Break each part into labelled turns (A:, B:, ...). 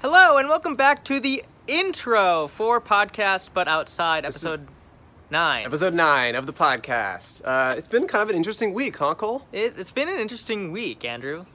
A: Hello and welcome back to the intro for podcast but outside episode nine.
B: Episode nine of the podcast. Uh, it's been kind of an interesting week, huh, Cole?
A: It, it's been an interesting week, Andrew.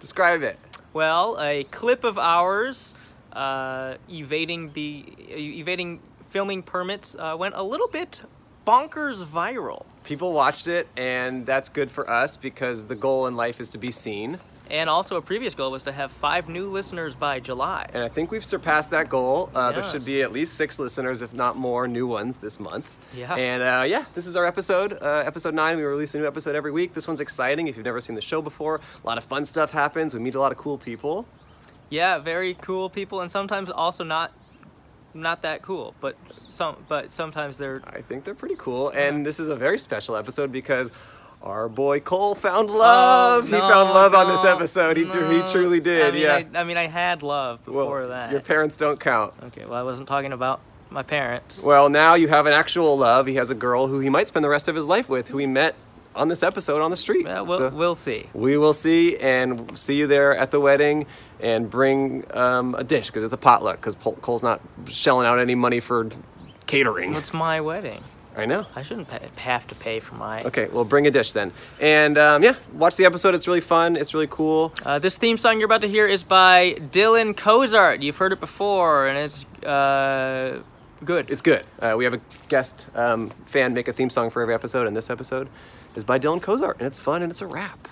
B: Describe it.
A: Well, a clip of ours uh, evading the e, evading filming permits uh, went a little bit bonkers viral,
B: People watched it, and that's good for us because the goal in life is to be seen.
A: and also a previous goal was to have five new listeners by July.
B: And I think we've surpassed that goal. Uh, There
A: Yes.
B: should be at least six listeners, if not more, new ones this month.
A: Yeah.
B: And uh, yeah, this is our episode, uh, episode nine. We release a new episode every week. This one's exciting. If you've never seen the show before, a lot of fun stuff happens. We meet a lot of cool people.
A: Yeah, very cool people, and sometimes also not not that cool, but some but sometimes they're
B: I think they're pretty cool. And this is a very special episode because our boy Cole found love. he
A: Oh, no,
B: found love on this
A: no,
B: episode. He, tru-
A: no.
B: he truly did.
A: I mean,
B: yeah.
A: I, I mean, I had love
B: well,
A: before that.
B: your parents don't count.
A: okay, well, I wasn't talking about my parents.
B: Well, now you have an actual love. He has a girl who he might spend the rest of his life with, who he met on this episode on the street.
A: Yeah, we'll,
B: So
A: we'll see.
B: we will see and see you there at the wedding and bring um, a dish because it's a potluck because Cole's not shelling out any money for catering.
A: It's my wedding.
B: I know.
A: I shouldn't pa have to pay for my.
B: Okay, well, bring a dish then. And um, yeah, watch the episode. It's really fun. It's really cool.
A: Uh, this theme song you're about to hear is by Dylan Cozart. You've heard it before, and it's uh, good.
B: It's good. Uh, we have a guest um, fan make a theme song for every episode, and this episode is by Dylan Kozart, and it's fun and it's a rap.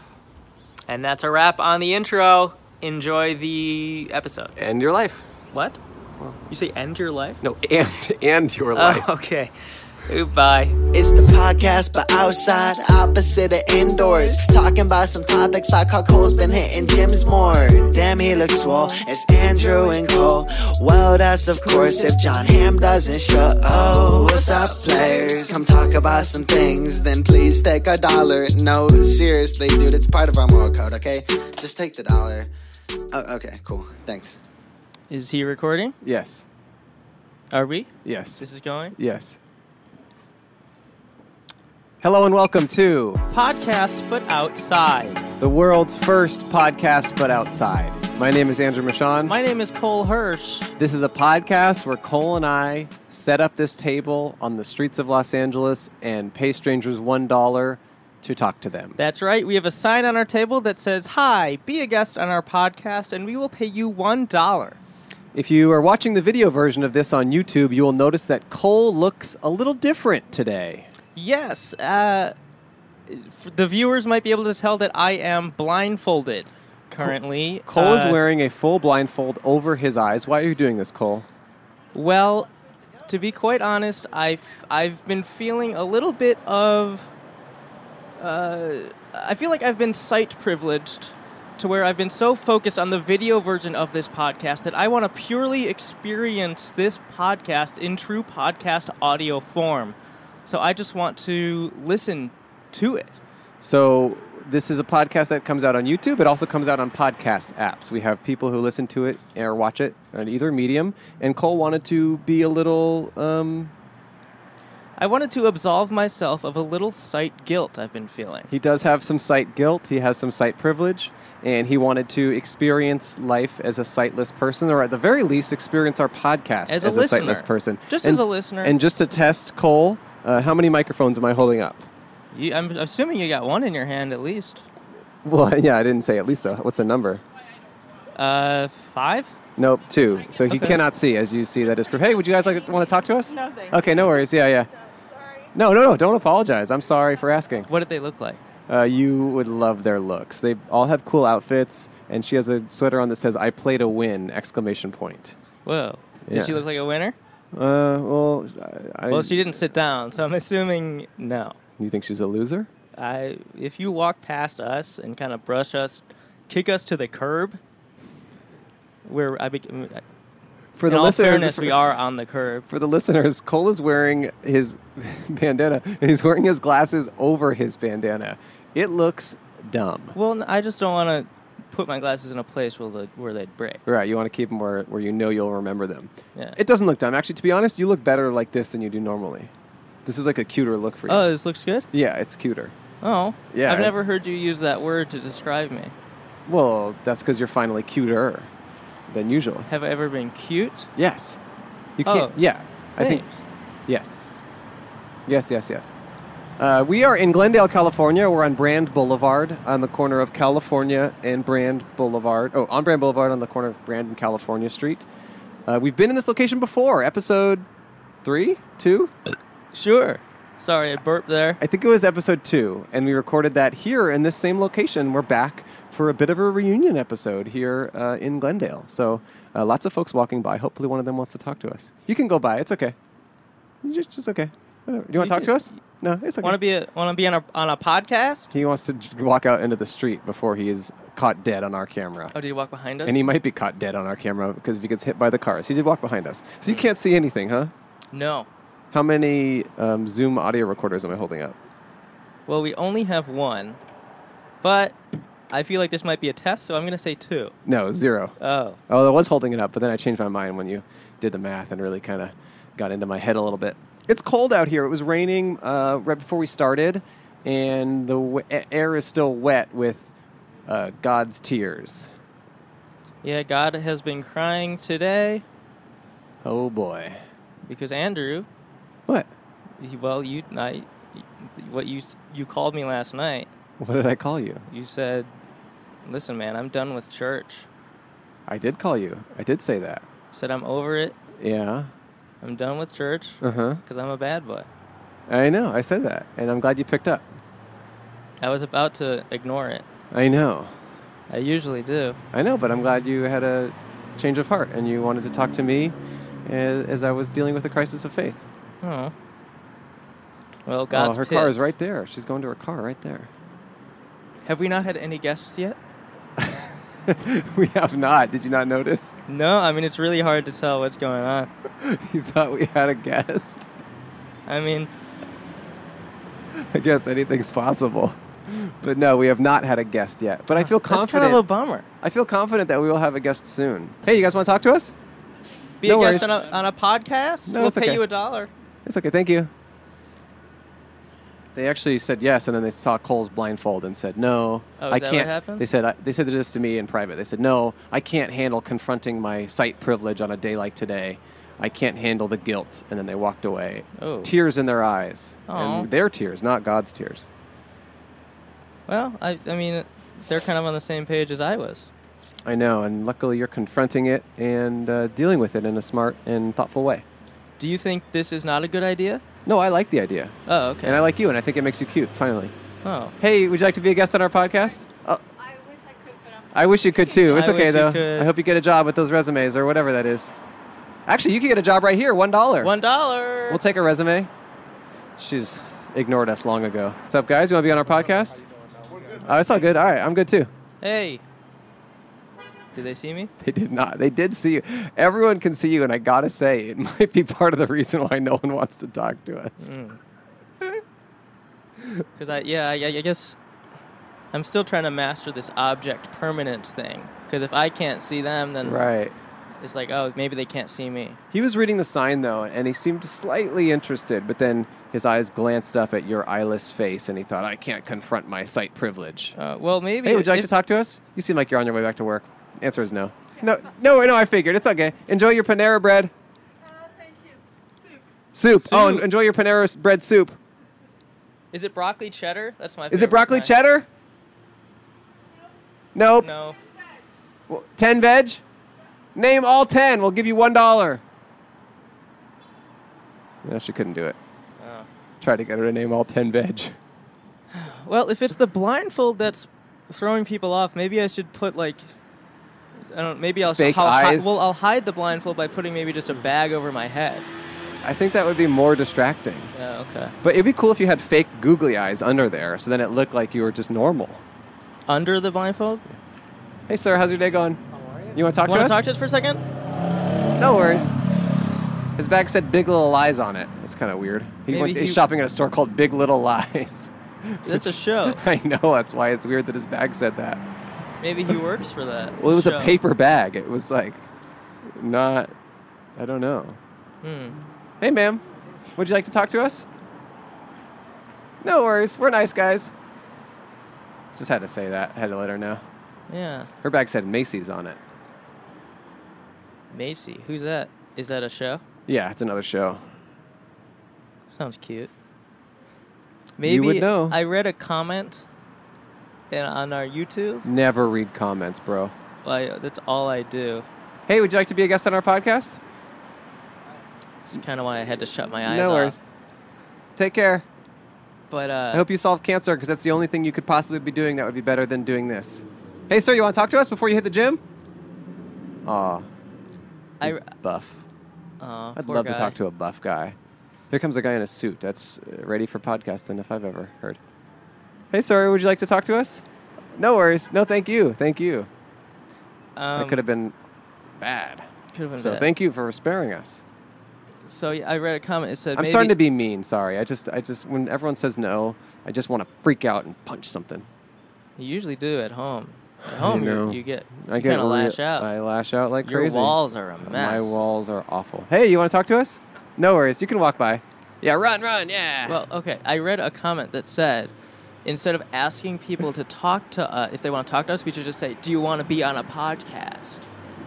A: and that's a wrap on the intro. Enjoy the episode.
B: And your life.
A: What? You say end your life?
B: No, and and your life.
A: Oh, okay. Ooh, Bye.
C: It's the podcast, but outside, opposite of indoors. Talking about some topics like how Cole's been hitting gyms more. Damn, he looks swole. It's Andrew and Cole. Well, that's of course if John Ham doesn't show. Oh, what's up, players? Come talk about some things, then please take a dollar. No, seriously, dude, it's part of our moral code, okay? Just take the dollar. Oh, okay, cool. Thanks.
A: Is he recording?
B: Yes.
A: Are we?
B: Yes.
A: This is going?
B: Yes. Hello and welcome to
A: Podcast, but outside.
B: the world's first podcast, but outside. My name is Andrew Michon.
A: My name is Cole Hirsch.
B: This is a podcast where Cole and I set up this table on the streets of Los Angeles and pay strangers $1 to talk to them.
A: That's right. We have a sign on our table that says, Hi, be a guest on our podcast, and we will pay you $1.
B: If you are watching the video version of this on YouTube, you will notice that Cole looks a little different today.
A: Yes. Uh, f- the viewers might be able to tell that I am blindfolded currently.
B: Cole is
A: Uh,
B: wearing a full blindfold over his eyes. Why are you doing this, Cole?
A: Well, to be quite honest, I've I've been feeling a little bit of. Uh, I feel like I've been sight privileged, to where I've been so focused on the video version of this podcast that I want to purely experience this podcast in true podcast audio form. So I just want to listen to it.
B: So, this is a podcast that comes out on YouTube. It also comes out on podcast apps. We have people who listen to it or watch it on either medium. And Cole wanted to be a little um,
A: I wanted to absolve myself of a little sight guilt I've been feeling.
B: He does have some sight guilt. He has some sight privilege, and he wanted to experience life as a sightless person, or at the very least, experience our podcast
A: As
B: as,
A: a
B: a, sightless
A: listener.
B: person.
A: Just
B: And-
A: as a listener.
B: And just to test, Cole, uh, how many microphones am I holding up?
A: You, I'm assuming you got one in your hand at least.
B: Well, yeah, I didn't say at least though. What's the number?
A: Uh, five?
B: Nope, two. So he
A: Okay.
B: cannot see, as you see that is. Hey, would you guys like want to talk to us?
D: No, thank you.
B: Okay, no worries. Yeah, yeah.
D: Sorry.
B: No, no, no. Don't apologize. I'm sorry for asking.
A: What did they look like?
B: Uh, you would love their looks. They all have cool outfits, and she has a sweater on that says "I play to win!" Exclamation point.
A: Whoa. Did she
B: Yeah.
A: look like a winner?
B: Uh, well, I,
A: Well, she didn't sit down, so I'm assuming no.
B: You think she's a loser?
A: I, if you walk past us and kind of brush us, kick us to the curb, where I be, mm, in
B: For the
A: all
B: listeners,
A: fairness,
B: for,
A: we are on the curb.
B: for the listeners, Cole is wearing his bandana, and he's wearing his glasses over his bandana. It looks dumb.
A: Well, n- I just don't want to put my glasses in a place where the, where they'd break.
B: Right, you want to keep them where, where you know you'll remember them.
A: Yeah.
B: It doesn't look dumb. Actually, to be honest, you look better like this than you do normally. This is like a cuter look for you.
A: Oh, this looks good.
B: yeah, it's cuter.
A: Oh,
B: Yeah,
A: I've
B: I-
A: never heard you use that word to describe me.
B: Well, that's because you're finally cuter. than usual.
A: Have I ever been cute?
B: Yes. You can't.
A: Oh.
B: Yeah. I think.
A: Thanks.
B: Yes. Yes, yes, yes. Uh, we are in Glendale, California. We're on Brand Boulevard on the corner of California and Brand Boulevard. Oh, on Brand Boulevard on the corner of Brand and California Street. Uh, we've been in this location before, episode three, two?
A: Sure. Sorry, I burped there.
B: I think it was episode two, and we recorded that here in this same location. We're back for a bit of a reunion episode here uh, in Glendale. So uh, lots of folks walking by. Hopefully, one of them wants to talk to us. You can go by. It's okay. You Just, just okay. Whatever. Do you want to
A: You
B: talk to
A: can-
B: us? No, it's okay.
A: Want to be a, want to be on a on a podcast?
B: he wants to j- walk out into the street before he is caught dead on our camera.
A: Oh, did he walk behind us?
B: And he might be caught dead on our camera because if he gets hit by the cars, he did walk behind us. So you can't see anything, huh?
A: no.
B: How many um, Zoom audio recorders am I holding up?
A: Well, we only have one, but I feel like this might be a test, so I'm gonna say two.
B: No, zero.
A: Oh,
B: Oh, I was holding it up, but then I changed my mind when you did the math and really kind of got into my head a little bit. It's cold out here. It was raining uh, right before we started, and the w- a- air is still wet with uh, God's tears.
A: yeah. God has been crying today
B: Oh boy.
A: because Andrew.
B: What?
A: he- Well, you I, what you you called me last night.
B: What did I call you?
A: You said, "Listen, man, I'm done with church."
B: I did call you. I did say that.
A: Said I'm over it.
B: Yeah.
A: I'm done with church
B: Uh huh.
A: because I'm a bad boy.
B: I know. I said that, and I'm glad you picked up.
A: I was about to ignore it.
B: I know.
A: I usually do.
B: I know, but I'm glad you had a change of heart and you wanted to talk to me as, as I was dealing with a crisis of faith.
A: Oh. Well, God's
B: oh, her car is
A: pissed.
B: right there. She's going to her car right there.
A: Have we not had any guests yet?
B: we have not. Did you not notice?
A: No, I mean it's really hard to tell what's going on.
B: you thought we had a guest.
A: I mean,
B: I guess anything's possible. But no, we have not had a guest yet. But I feel
A: that's
B: confident.
A: kind of a bummer.
B: I feel confident that we will have a guest soon. Hey, you guys want to talk to us?
A: Be
B: No
A: a guest
B: worries.
A: on a, on a podcast.
B: No,
A: we'll
B: it's
A: pay
B: okay.
A: you a dollar.
B: It's okay. Thank you. They actually said yes, and then they saw Cole's blindfold and said no.
A: Oh, is
B: I
A: that what
B: can't.
A: happened?
B: They said I, they said this to me in private. They said no, I can't handle confronting my sight privilege on a day like today. I can't handle the guilt, and then they walked away.
A: Oh.
B: Tears in their eyes,
A: Aw.
B: and their tears, not God's tears.
A: Well, I I mean, they're kind of on the same page as I was.
B: I know, and luckily you're confronting it and uh, dealing with it in a smart and thoughtful way.
A: Do you think this is not a good idea?
B: No, I like the idea,
A: Oh, okay.
B: and I like you, and I think it makes you cute. Finally,
A: oh,
B: hey, would you like to be a guest on our podcast? Oh,
D: I wish I could, but I'm.
B: I wish you could too. It's
A: I
B: okay
A: wish you
B: though.
A: could.
B: I hope you get a job with those resumes or whatever that is. Actually, you could get a job right here, one dollar.
A: one dollar.
B: We'll take a resume. She's ignored us long ago. What's up, guys? You want to be on our podcast? Oh, it's all good. All right, I'm good too.
A: Hey. Did they see me?
B: They did not. They did see you. Everyone can see you, and I gotta say, it might be part of the reason why no one wants to talk to us.
A: Because I, yeah, I, I guess I'm still trying to master this object permanence thing. Because if I can't see them, then
B: Right.
A: it's like, oh, maybe they can't see me.
B: He was reading the sign though, and he seemed slightly interested, but then his eyes glanced up at your eyeless face, and he thought, "I can't confront my sight privilege."
A: Uh, well, maybe.
B: Hey, would you like
A: it-
B: to talk to us? You seem like you're on your way back to work. Answer is no. No, no, no. I figured it's okay. Enjoy your Panera bread
E: Uh,
D: Oh, thank you. Soup.
B: soup. Oh, and
A: Soup.
B: enjoy your Panera s- bread soup.
A: Is it broccoli cheddar? That's my.
B: Is
A: favorite
B: it broccoli
A: kind.
B: cheddar? Nope.
A: No.
B: Well, ten veg. Name all ten. We'll give you one dollar. No, she couldn't do it.
A: Oh.
B: Try to get her to name all ten veg.
A: Well, if it's the blindfold that's throwing people off, maybe I should put like. I don't. Maybe I'll.
B: Fake
A: I'll hi-
B: eyes?
A: well, I'll hide the blindfold by putting maybe just a bag over my head.
B: I think that would be more distracting.
A: Yeah. Okay.
B: But it'd be cool if you had fake googly eyes under there, so then it looked like you were just normal.
A: Under the blindfold.
B: Hey, sir, how's your day going? You want to talk
A: Want
B: to
A: to
B: us?
A: talk to us for a second?
B: No worries. His bag said Big Little Lies on it. That's kind of weird. He
A: Maybe
B: went, he's
A: he-
B: shopping at a store called Big Little Lies.
A: That's a
B: Which-
A: show.
B: I know. That's why it's weird that his bag said that.
A: Maybe he works for that.
B: Well, it was
A: show.
B: a paper bag. It was like not. I don't know.
A: Hmm.
B: Hey, ma'am, would you like to talk to us? No worries. We're nice guys. Just had to say that. Had to let her know.
A: Yeah.
B: Her bag said Macy's on it.
A: Macy, who's that? Is that a show?
B: Yeah, it's another show.
A: Sounds cute. Maybe
B: You would know.
A: I read a comment in, on our YouTube.
B: Never read comments, bro.
A: I, that's all I do.
B: Hey, would you like to be a guest on our podcast?
A: It's kind of why I had to shut my eyes
B: no worries.
A: off.
B: Take care.
A: But uh,
B: I hope you solve cancer because that's the only thing you could possibly be doing that would be better than doing this. Hey, sir, you want to talk to us before you hit the gym? Aw,
A: I,
B: he's buff.
A: aw,
B: I'd
A: poor
B: love to
A: guy.
B: talk to a buff guy. Here comes a guy in a suit that's uh, ready for podcasting if I've ever heard. Hey, sir, would you like to talk to us? No worries. No, thank you. Thank you.
A: Um,
B: that could have been bad.
A: could've been
B: So
A: bad.
B: thank you for sparing us.
A: So yeah, I read a comment. It said,
B: I'm
A: maybe,
B: starting to be mean. Sorry. I just, I just, when everyone says no, I just want to freak out and punch something.
A: You usually do at home. At home,
B: know.
A: you, you get
B: I
A: you
B: get
A: kind of
B: really-
A: lash out.
B: I lash out like
A: Your
B: crazy.
A: walls are a mess.
B: My walls are awful. Hey, you want to talk to us? No worries. You can walk by. Yeah, run, run. Yeah.
A: Well, okay. I read a comment that said, instead of asking people to talk to us, if they want to talk to us, we should just say, "Do you want to be on a podcast?"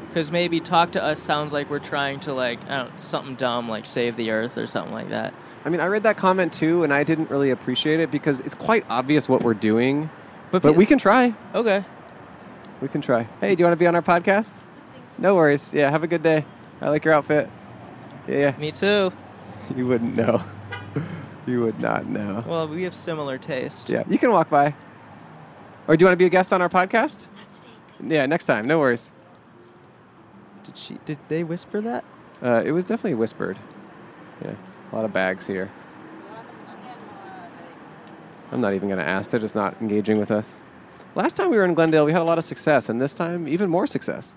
A: Because maybe talk to us sounds like we're trying to like I don't something dumb like save the earth or something like that.
B: I mean, I read that comment too, and I didn't really appreciate it because it's quite obvious what we're doing. But,
A: pe-
B: we can try.
A: okay.
B: We can try. Hey, do you want to be on our podcast? No worries. Yeah, have a good day. I like your outfit. Yeah,
A: Me too.
B: yeah. You wouldn't know. you would not know.
A: Well, we have similar taste.
B: Yeah, you can walk by. Or do you want to be a guest on our podcast? Yeah, next time. No worries.
A: Did she? Did they whisper that?
B: Uh, it was definitely whispered. Yeah, a lot of bags here. I'm not even going to ask. They're just not engaging with us. Last time we were in Glendale, we had a lot of success, and this time, even more success.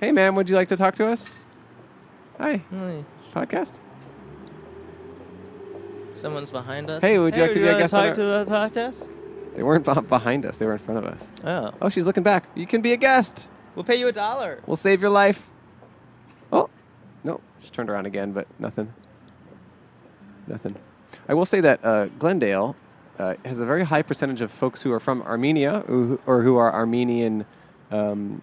B: Hey, ma'am, would you like to talk to us? Hi,
A: Really?
B: podcast.
A: Someone's behind us.
B: Hey, would you like to be a
A: wanna
B: guest on
A: talk to uh, talk to us?
B: They weren't beh- behind us, they were in front of us.
A: Oh,
B: Oh, she's looking back. You can be a guest.
A: we'll pay you a dollar.
B: We'll save your life. Oh, no. She turned around again, but nothing. Nothing. I will say that uh, Glendale uh, has a very high percentage of folks who are from Armenia who- or who are Armenian um,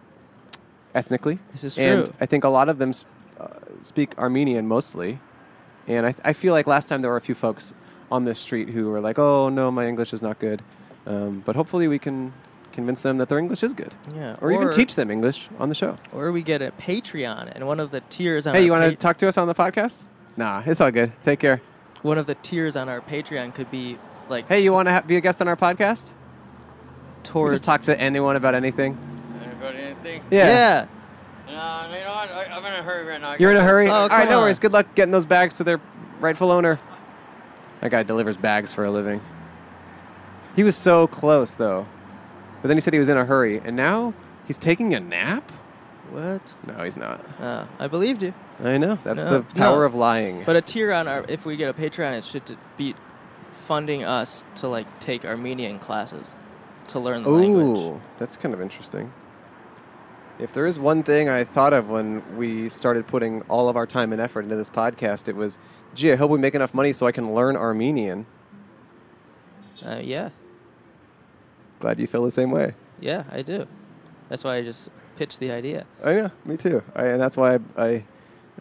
B: ethnically.
A: This is
B: And
A: true.
B: I think a lot of them sp- uh, speak Armenian mostly. And I, I feel like last time there were a few folks on this street who were like, oh, no, my English is not good. Um, but hopefully we can convince them that their English is good.
A: Yeah.
B: Or, even teach them English on the show.
A: Or we get a Patreon, and one of the tiers on
B: Hey,
A: our
B: you want to
A: pa-
B: talk to us on the podcast? Nah, it's all good. Take care.
A: one of the tiers on our Patreon could be like
B: Hey, you want to ha- be a guest on our podcast? Or
A: towards
B: just talk to anyone about anything.
F: Anybody anything?
A: yeah.
F: No, you know what? I, I'm in a hurry right now.
B: You're in a hurry.
A: Oh,
B: all
A: come
B: right, no
A: on.
B: worries. Good luck getting those bags to their rightful owner. That guy delivers bags for a living. He was so close though, but then he said he was in a hurry, and now he's taking a nap.
A: What?
B: No, he's not.
A: Uh, I believed you.
B: I know. That's
A: No,
B: the power
A: no.
B: of lying.
A: But a tier on our if we get a Patreon, it should t- be funding us to like take Armenian classes to learn the language.
B: Ooh, that's kind of interesting. If there is one thing I thought of when we started putting all of our time and effort into this podcast, it was, gee, I hope we make enough money so I can learn Armenian.
A: Uh, yeah,
B: Glad you feel the same way.
A: yeah, I do. That's why I just pitched the idea.
B: I know, Oh, me too. I, and that's why I, I,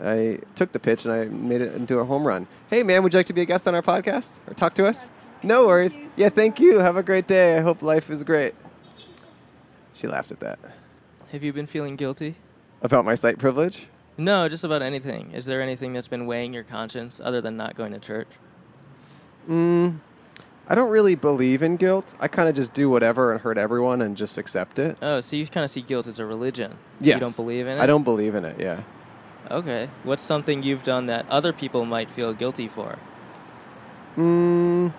B: I took the pitch and I made it into a home run. Hey, man, would you like to be a guest on our podcast or talk to us? No worries. Yeah, thank you. Have a great day. I hope life is great. She laughed at that.
A: Have you been feeling guilty?
B: About my site privilege?
A: No, just about anything. Is there anything that's been weighing your conscience other than not going to church?
B: Mm, I don't really believe in guilt. I kind of just do whatever and hurt everyone and just accept it.
A: Oh, so you kind of see guilt as a religion.
B: Yes.
A: You don't believe in it?
B: I don't believe in it, yeah.
A: Okay. What's something you've done that other people might feel guilty for?
B: Mm,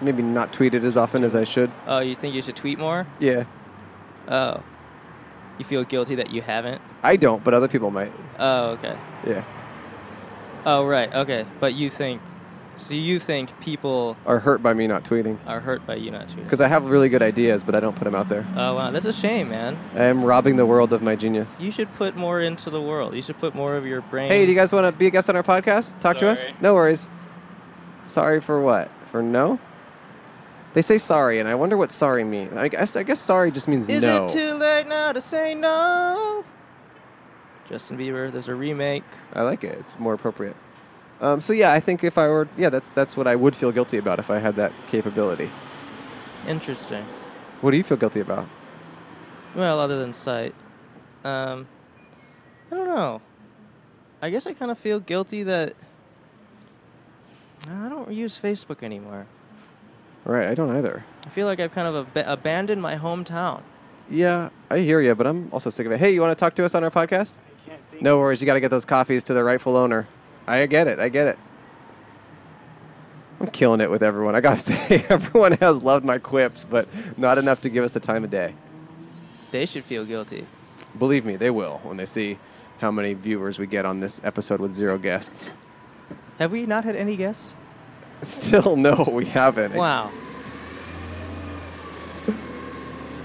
B: maybe not tweeted as often as I should.
A: Oh, you think you should tweet more?
B: Yeah.
A: Oh. You feel guilty that you haven't?
B: I don't, but other people might.
A: Oh, okay.
B: Yeah.
A: Oh, right. Okay. But you think so you think people
B: Are hurt by me not tweeting.
A: are hurt by you not tweeting.
B: Because I have really good ideas, but I don't put them out there.
A: Oh, wow. That's a shame, man.
B: I am robbing the world of my genius.
A: You should put more into the world. You should put more of your brain.
B: Hey, do you guys want to be a guest on our podcast? Talk to us?
F: Sorry.
B: No worries. Sorry for what? For no? They say sorry, and I wonder what sorry means. I guess, I guess sorry just means
A: Is
B: no.
A: it too late now to say no? Justin Bieber, there's a remake.
B: I like it. It's more appropriate. Um, so yeah, I think if I were, yeah, that's that's what I would feel guilty about if I had that capability.
A: Interesting.
B: What do you feel guilty about?
A: Well, other than sight, um, I don't know. I guess I kind of feel guilty that I don't use Facebook anymore.
B: Right, I don't either.
A: I feel like I've kind of ab- abandoned my hometown.
B: Yeah, I hear you, but I'm also sick of it. Hey, you want to talk to us on our podcast? No worries. You got to get those coffees to their rightful owner. I get it. I get it. I'm killing it with everyone. I gotta say, everyone has loved my quips, but not enough to give us the time of day.
A: They should feel guilty.
B: Believe me, they will when they see how many viewers we get on this episode with zero guests.
A: Have we not had any guests?
B: Still, no, we haven't.
A: Wow.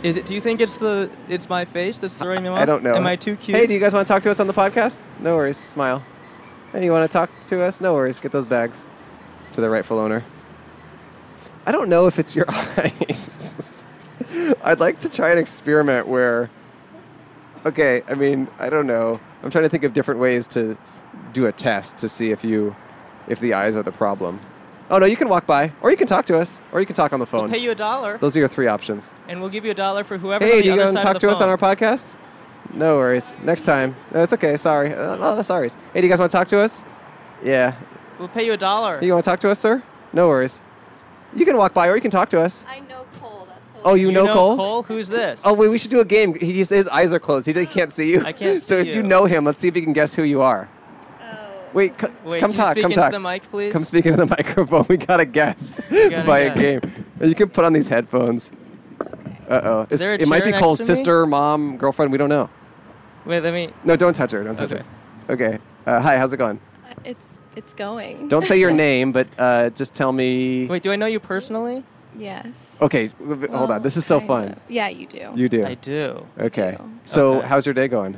A: Is it? Do you think it's the it's my face that's throwing them off?
B: I don't know.
A: Am I too cute?
B: Hey, do you guys want to talk to us on the podcast? No worries. Smile. Hey, you want to talk to us? No worries. Get those bags to the rightful owner. I don't know if it's your eyes. I'd like to try an experiment where, okay, I mean, I don't know. I'm trying to think of different ways to do a test to see if you, if the eyes are the problem. Oh no, you can walk by, or you can talk to us, or you can talk on the
A: We'll
B: phone.
A: pay you a dollar,
B: Those are your three options.
A: and we'll give you a dollar for whoever.
B: Hey,
A: on the
B: you
A: other
B: going to
A: side
B: talk
A: of
B: to
A: the
B: us on
A: phone.
B: our podcast? No worries. Next time. No, it's okay. Sorry. Uh, no, no, sorries. Hey, do you guys want to talk to us? Yeah.
A: We'll pay you a dollar.
B: Hey, you want to talk to us, sir? No worries. You can walk by or you can talk to us.
D: I know Cole. That's
B: Oh, you, know, Cole?
A: Who's this?
B: Oh, wait, we should do a game. He, his, his eyes are closed. He, he can't see you.
A: I can't
B: so
A: see
B: if you
A: you.
B: know him, let's see if you can guess who you are.
E: Oh.
B: Wait, c-
A: Wait,
B: come
A: can
B: talk.
A: you speak
B: come
A: into
B: talk.
A: the mic, please?
B: Come speak into the microphone. We got a guest
A: got a
B: by a
A: guest.
B: game. You can put on these headphones. Uh oh. It's-
A: there a
B: It might
A: chair
B: be
A: next
B: Cole's
A: to me?
B: sister, mom, girlfriend. We don't know.
A: Wait, let me.
B: No, don't touch her. Don't touch
A: Okay.
B: her. Okay. Uh, hi, how's it going?
E: It's it's going.
B: Don't say your name, but uh, just tell me.
A: Wait, do I know you personally?
E: Yes.
B: Okay, w- w- hold
E: Well,
B: on. This is so
E: kind
B: fun.
E: of. Yeah, you do.
B: You do.
A: Oh, I do.
B: Okay.
E: do.
B: So,
A: Okay.
B: how's your day going?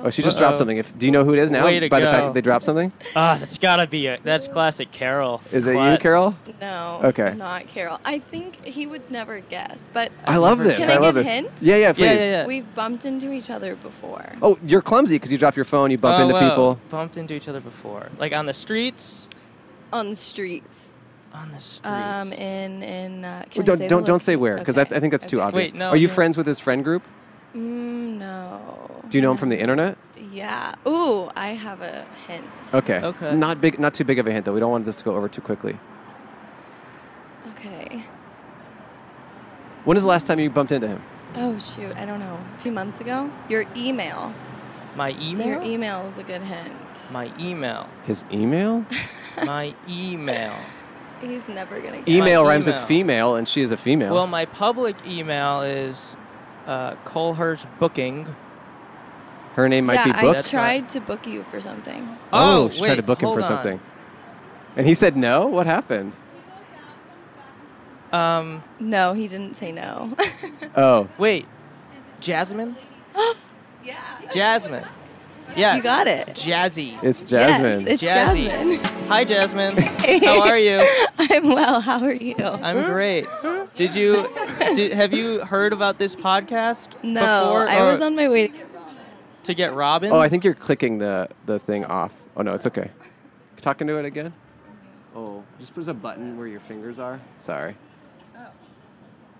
B: Oh, she just dropped
A: Uh-oh.
B: something. If do you know who it is now?
A: Way to
B: By the fact
A: go.
B: that they dropped something,
A: Ah, that's gotta be it. That's classic Carol.
B: is it you, Carol?
E: no.
B: Okay.
E: Not Carol. I think he would never guess, but
B: I love this.
E: Can I
B: love
E: give
B: this.
E: hints?
B: Yeah, yeah, please.
A: Yeah, yeah, yeah.
E: we've bumped into each other before.
B: Oh, you're clumsy because you drop your phone, you bump
A: Oh,
B: into
A: whoa.
B: people.
A: Bumped into each other before, like on the streets.
B: Oh.
E: On the streets.
A: On the streets.
E: Um, in in. Uh,
B: Wait,
E: can I
B: don't
E: say the
B: don't don't say
E: location?
B: where because
E: Okay.
B: I think that's too
E: Okay.
B: obvious.
A: Wait, no,
B: Are you
A: yeah.
B: friends with his friend group?
E: Mm, no.
B: Do you know him from the internet?
E: Yeah. Ooh, I have a hint.
B: Okay.
A: Okay.
B: Not big, not too big of a hint though. We don't want this to go over too quickly.
E: Okay.
B: When is the last time you bumped into him?
E: Oh shoot, I don't know. A few months ago, your email.
A: my email.
E: Your email is a good hint.
A: my email.
B: His email?
A: my email.
E: He's never gonna get.
B: email
A: My
B: rhymes with
A: email.
B: female, and she is a female.
A: Well, my public email is uh, Colehurst Booking.
B: her name might
E: yeah,
B: be Books.
E: I tried to book you for something.
B: oh, she tried to
A: wait,
B: book him for
A: hold on.
B: something. And he said no. What happened?
A: Um,
E: No, he didn't say no.
B: Oh,
A: wait, Jasmine.
E: yeah.
A: Jasmine. Yes.
E: You got it.
A: Jazzy.
B: it's Jasmine.
E: Yes, it's
A: Jazzy.
E: Jasmine.
A: Hi, Jasmine. How are you?
E: I'm well. How are you?
A: I'm great. Did you did, have you heard about this podcast?
E: no,
A: before,
E: I
A: or
E: was on my way. To get
A: to get Robin.
B: oh, I think you're clicking the the thing off. Oh no, it's okay. Talking to it again. Oh, just put a button where your fingers are. Sorry.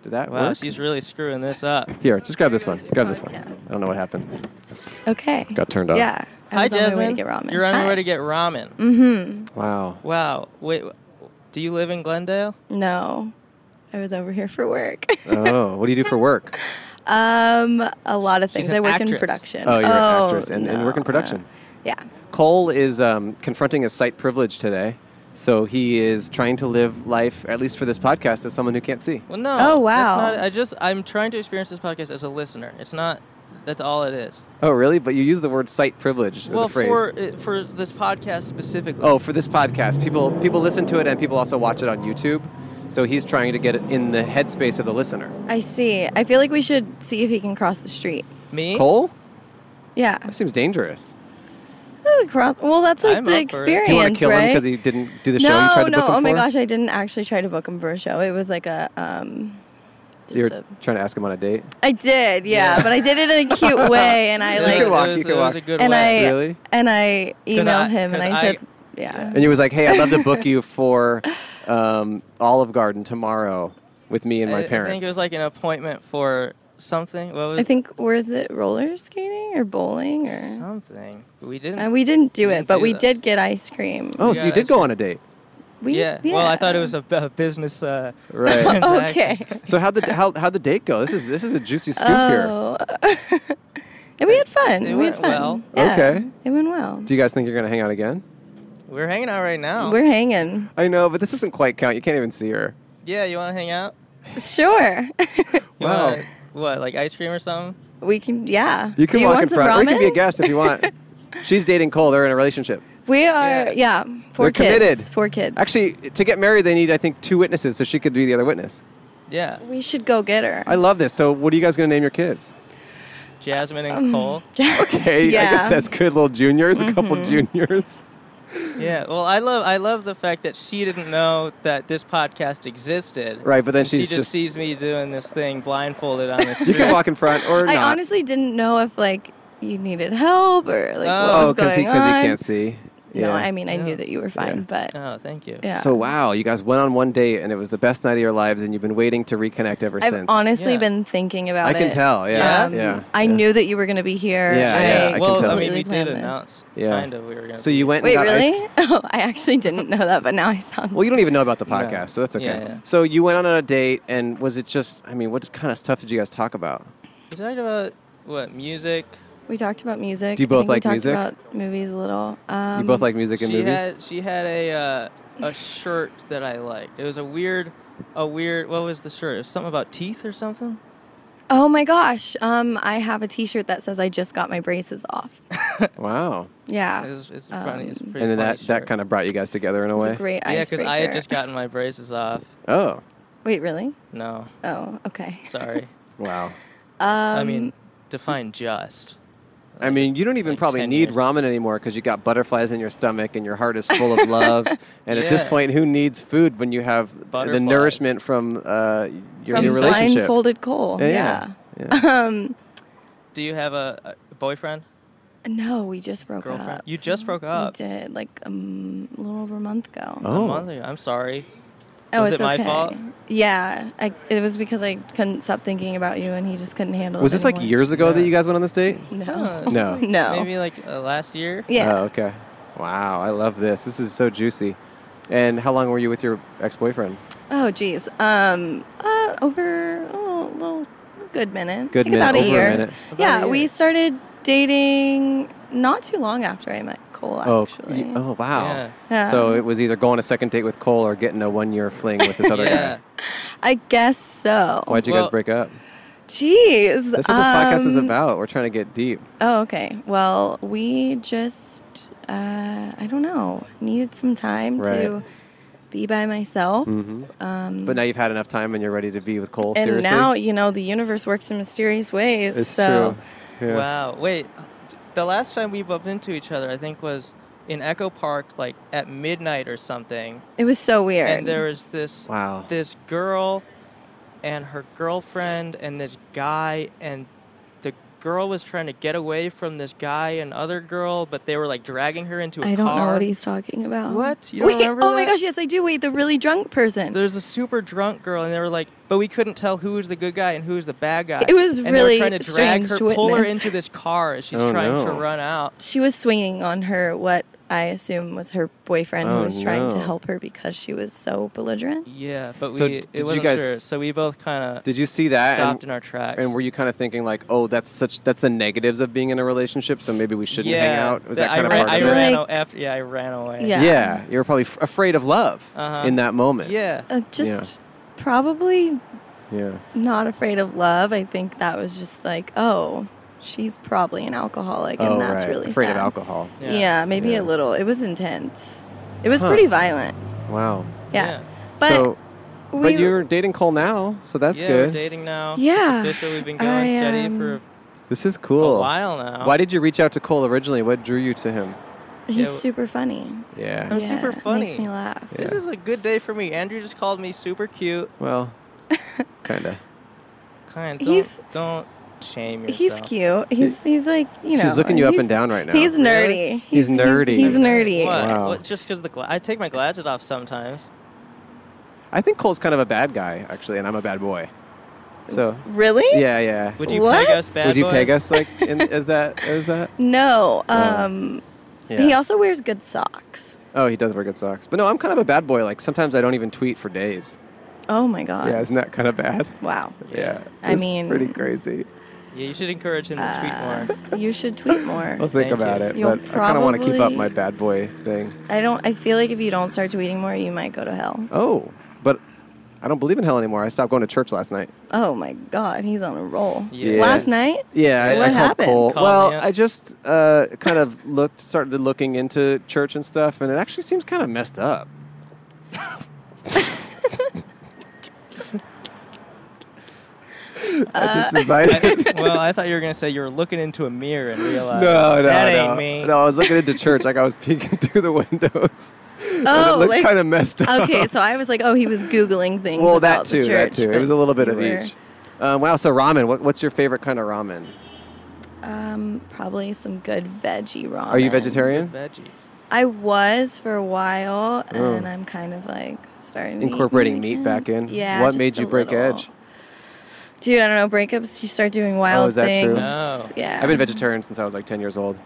B: Did that
A: wow,
B: work?
A: she's really screwing this up.
B: Here, just grab this one. Grab this one.
E: Podcast.
B: I don't know what happened.
E: okay.
B: Got turned off.
E: Yeah. I
A: Hi,
E: was on
A: Jasmine.
E: my way to get ramen.
A: You're on
E: Hi.
A: your way to get ramen.
E: Mm-hmm.
B: Wow.
A: Wow. Wait, do you live in Glendale?
E: No, I was over here for work.
B: Oh, what do you do for work?
E: um, a lot of things.
A: an
E: I work in
A: actress.
E: production.
B: Oh, you're an actress and, and
E: no,
B: work in
E: uh,
B: production.
E: yeah.
B: Cole is um, confronting his sight privilege today. So he is trying to live life, at least for this podcast, as someone who can't see.
A: Well, no.
E: Oh, wow.
A: That's not, I just I'm trying to experience this podcast as a listener. It's not. That's all it is.
B: Oh, really? But you use the word sight privilege, or
A: well,
B: the phrase.
A: for uh, for this podcast specifically.
B: oh, for this podcast, people people listen to it and people also watch it on YouTube. So he's trying to get it in the headspace of the listener.
E: I see. I feel like we should see if he can cross the street.
A: me.
B: Cole,
E: Yeah.
B: that seems dangerous.
E: Oh, cross- well, that's like
A: I'm
E: the
A: up for it. Do
E: experience,
B: Do you want to kill
E: right?
B: him because he didn't do the show
E: no,
B: you tried to
E: no.
B: book him
E: oh my
B: for?
E: gosh, I didn't actually try to book him for a show. It was like a um. Just
B: You're
E: a,
B: trying to ask him on a date.
E: I did, yeah,
A: Yeah.
E: but I did it in a cute way, and I
A: It
B: You
A: was-
B: can
A: it
E: like,
B: walk,
A: was-
B: you can
A: it was
B: walk.
A: a good
E: and
A: way.
E: I
B: Really?
E: and I
A: 'Cause
E: emailed
A: I-
E: him, and
A: 'cause
E: I
A: I-
E: said, yeah.
B: And he was like, "Hey, I'd love to book you for um, Olive Garden tomorrow with me and my
A: I-
B: parents."
A: I think it was like an appointment for something. What was
E: I think where is it? Roller skating or bowling or?
A: something? We didn't.
E: And we didn't do
A: We
E: it,
A: didn't
E: but
A: do
E: we
A: that.
E: did get ice cream.
B: oh,
A: Yeah,
B: so you did
A: that's
B: go on a date,
E: we,
A: yeah. Well, I thought it was a, b- a business. Uh,
B: right?
E: okay.
B: so how the how how the date go? This is this is a juicy scoop here.
E: Oh, and we had
A: It
E: fun. we had
A: went
E: fun.
A: well.
E: Yeah,
B: Okay.
E: it went well.
B: Do you guys think you're gonna hang out again?
A: we're hanging out right now.
E: We're hanging.
B: I know, but this doesn't quite count. You can't even see her.
A: yeah, you want to hang out?
E: Sure.
A: You
B: Wow.
A: Wanna, what, like ice cream or something?
E: we can. Yeah.
B: You can
E: Do you
B: walk
E: want
B: in
E: some
B: front, or you can be a
E: ramen?
B: guest if you want. She's dating Cole. They're in a relationship.
E: We are. Yeah. four
B: They're
E: kids.
B: committed.
E: Four kids.
B: Actually, to get married, they need I think two witnesses, so she could be the other witness.
A: Yeah,
E: we should go get her.
B: I love this. So, what are you guys gonna name your kids?
A: Jasmine and
E: Um,
A: Cole.
B: Okay, I guess
E: Yeah. Mm-hmm.
B: that's good. Little juniors, a couple juniors.
A: Yeah. Well, I love I love the fact that she didn't know that this podcast existed.
B: Right, but then
A: And she
B: she's
A: just,
B: just-
A: sees me doing this thing blindfolded on the
B: You
A: street.
B: can walk in front or
E: I
B: not.
E: honestly didn't know if like you needed help or like
A: Oh,
E: what was
B: because
E: going
B: he, 'cause he
E: on.
B: can't see.
E: No, I mean I
A: Yeah.
E: knew that you were fine, but
A: Oh, thank you.
E: yeah.
B: So wow, you guys went on one date and it was the best night of your lives, and you've been waiting to reconnect ever
E: I've
B: since.
E: honestly
A: Yeah.
E: been thinking about
B: I
E: it.
B: can tell. Yeah,
E: Um,
B: yeah.
E: I
B: yeah.
E: knew that you were going to be here.
B: Yeah,
E: I
B: yeah, I can
A: well,
B: tell.
A: I mean, we
E: completely
A: did
E: planned this.
A: announce
B: Yeah.
A: kind of we were gonna.
B: So
A: be
B: you went.
E: Wait,
B: and got ice-
E: really? Oh, I actually didn't know that, but now I sound.
B: well, you don't even know about the podcast, so that's okay.
A: Yeah, yeah.
B: So you went on a date, and was it just? I mean, what kind of stuff did you guys talk about?
A: We talked about what music.
E: we talked about music.
B: Do you both
E: I think
B: like
E: we talked
B: music?
E: About movies a little. Um,
B: you both like music
A: She
B: and movies.
A: had she had a uh, a shirt that I liked. It was a weird, a weird. What was the shirt? It was something about teeth or something.
E: Oh my gosh! Um, I have a T-shirt that says "I just got my braces off."
B: wow.
E: Yeah,
A: It was it's funny. It's a
E: Um,
A: pretty
B: And then
A: funny
B: that, that kind of brought you guys together in a
E: it was
B: way.
E: a great
A: Yeah, because I had
E: icebreaker.
A: just gotten my braces off.
B: oh,
E: Wait, really?
A: No,
E: Oh, okay.
A: sorry.
B: wow.
A: I
E: Um,
A: mean, define just.
B: I mean, you don't even
A: like
B: probably
A: 10
B: need
A: years.
B: ramen anymore because you got butterflies in your stomach and your heart is full of love. And at this
A: Yeah.
B: point, who needs food when you have the
A: Butterflies.
B: nourishment from uh, your
E: From
B: new relationship?
E: blindfolded coal. Um,
B: Yeah,
E: Yeah,
B: yeah.
A: Do you have a, a boyfriend?
E: No, we just broke
A: Girlfriend?
E: up.
A: You just broke
E: we
A: up.
E: did like um, a little over a month ago.
A: A
B: Oh.
A: month ago. I'm sorry.
E: Oh,
A: Was
E: it's
A: it my
E: okay.
A: fault?
E: Yeah, I, it was because I couldn't stop thinking about you, and he just couldn't handle
B: Was
E: it.
B: this like
E: anymore.
B: years ago that
A: Yeah.
B: you guys went on this date?
A: Huh,
E: No.
A: this is
B: No.
A: like
E: No.
A: Maybe like uh, last year.
E: Yeah.
B: Oh, okay. Wow, I love this. This is so juicy. And how long were you with your ex boyfriend?
E: Oh, geez. Um. Uh. Over a little, little good minute.
B: Good
E: like About
B: minute,
E: a
B: over a
E: year.
B: minute.
A: About
E: yeah,
A: a year.
E: we started dating not too long after I met Cole. Actually.
B: Oh, y- oh wow.
A: Yeah.
E: Yeah.
B: So it was either going a second date with Cole or getting a one year fling with this other
A: yeah.
B: guy.
E: I guess so.
B: Why'd you
A: Well-
B: guys break up?
E: Jeez.
B: That's what this podcast is
E: um,
B: about. We're trying to get deep.
E: Oh, okay. Well, we just, uh, I don't know, needed some time to
B: Right.
E: be by myself.
B: hmm
E: Um,
B: But now you've had enough time and you're ready to be with Cole.
E: and
B: seriously,
E: now, you know, the universe works in mysterious ways.
B: it's
E: so,
B: true. Yeah.
A: Wow. Wait. d- The last time we bumped into each other, I think was in Echo Park, like at midnight or something.
E: it was so weird.
A: And there was this
B: Wow.
A: this girl and her girlfriend and this guy and the girl was trying to get away from this guy and other girl, but they were like dragging her into a
E: I don't know
A: car.
E: what he's talking about.
A: What? You don't
E: Wait,
A: remember
E: oh my
A: that?
E: gosh, yes, I do. Wait, the really drunk person.
A: There's a super drunk girl, and they were like, but we couldn't tell who was the good guy and who was the bad guy.
E: It was
A: and
E: really
A: they were trying to drag
E: strange
A: her,
E: to
A: pull her
E: witness.
A: into this car as she's
B: Oh,
A: trying to
B: no.
A: run out.
E: she was swinging on her, what I assume was her boyfriend
B: Oh,
E: who was trying to
B: no.
E: help her because she was so belligerent.
A: Yeah, but
B: So
A: we
B: d-
A: it
B: did you
A: wasn't
B: guys-
A: sure. So we both kind of
B: Did you see that?
A: stopped in
B: and,
A: our tracks.
B: and were you kind of thinking like, oh, that's such that's the negatives of being in a relationship, so maybe we shouldn't
A: yeah,
B: hang out? Was that
A: I
B: kind of
A: ran,
B: part
A: I
B: of it?
A: ran
E: Like-
A: a- after, yeah, I ran away.
E: Yeah.
B: Yeah, you were probably f- afraid of love
A: Uh-huh.
B: in that moment.
A: Yeah.
E: Uh, just probably
B: yeah.
E: not afraid of love. I think that was just like, oh, she's probably an alcoholic, and
B: oh,
E: that's
B: right.
E: really
B: afraid
E: sad.
B: of alcohol.
E: Yeah, maybe
B: Yeah.
E: a little. It was intense. It was
B: Huh.
E: pretty violent.
B: Wow.
E: Yeah, but
B: so,
E: we
B: but you're dating Cole now, so that's
A: yeah, we're
B: good.
A: dating now.
E: Yeah.
A: It's official. We've been going
E: I,
A: steady
E: um,
A: for
B: this is
A: a
B: cool.
A: while now.
B: Why did you reach out to Cole originally? What drew you to him?
E: He's
A: Yeah, w-
E: super funny.
B: Yeah.
E: Um,
A: I'm super funny.
E: Makes me laugh.
B: Yeah.
A: This is a good day for me. Andrew just called me super cute.
B: Well, kinda.
A: Kind. Don't
E: He's-
A: don't shame yourself.
E: He's cute. He's he's like you know.
B: She's looking you up
E: he's-
B: and down right now.
E: He's
A: Really?
E: nerdy.
B: He's nerdy.
E: He's, nerdy.
A: What?
B: Wow.
A: what just because the gla- I take my glasses off sometimes.
B: I think Cole's kind of a bad guy actually, and I'm a bad boy. So
E: Really?
B: yeah, yeah.
A: Would you
E: What?
A: peg us, bad
B: Would you peg
A: boys?
B: us like in, is that is that?
E: No. Um.
B: Oh. Yeah.
E: He also wears good socks.
B: oh, he does wear good socks. But no, I'm kind of a bad boy. Like sometimes I don't even tweet for days.
E: Oh my god.
B: Yeah, isn't that kind of bad?
E: Wow.
B: Yeah.
E: I
B: It's
E: mean-
B: pretty crazy.
A: Yeah, you should encourage him to
E: Uh,
A: tweet more.
E: you should tweet more.
B: I'll think
A: Thank
B: about
A: you.
B: it,
E: You'll
B: but I kind of want to keep up
E: probably-
B: my bad boy thing.
E: I don't. I feel like if you don't start tweeting more, you might go to hell.
B: Oh, but I don't believe in hell anymore. I stopped going to church last night.
E: Oh my god, he's on a roll.
A: Yeah.
E: Last night.
B: Yeah, I,
E: What
B: I called
E: happened?
B: Cole.
A: Called
B: well,
A: me up.
B: I just uh, kind of looked, started looking into church and stuff, and it actually seems kind of messed up. I
E: Uh,
B: just decided.
A: I- well, I thought you were gonna say you were looking into a mirror and realized
B: no, no,
A: that
B: no.
A: ain't me.
B: No, I was looking into church, like I was peeking through the windows. and it
E: Oh,
B: looked
E: like-
B: kind of messed up.
E: Okay, so I was like, oh, he was googling things.
B: well, that
E: about
B: too,
E: the
B: that
E: church,
B: too. It
E: but
B: was a little bit
E: you
B: of
E: were-
B: each. Um, wow. So ramen. What, what's your favorite kind of ramen?
E: Um, probably some good veggie ramen.
B: Are you vegetarian?
A: Veggie.
E: I was for a while,
B: Oh.
E: and I'm kind of like starting to eat
B: Incorporating meat back in.
E: Yeah.
B: What
E: just
B: made
E: a
B: you break
E: little.
B: edge? Oh,
E: Dude, I don't know. Breakups, you start doing wild
B: is that true?
E: things.
A: No.
E: Yeah.
B: I've been vegetarian since I was like ten years old.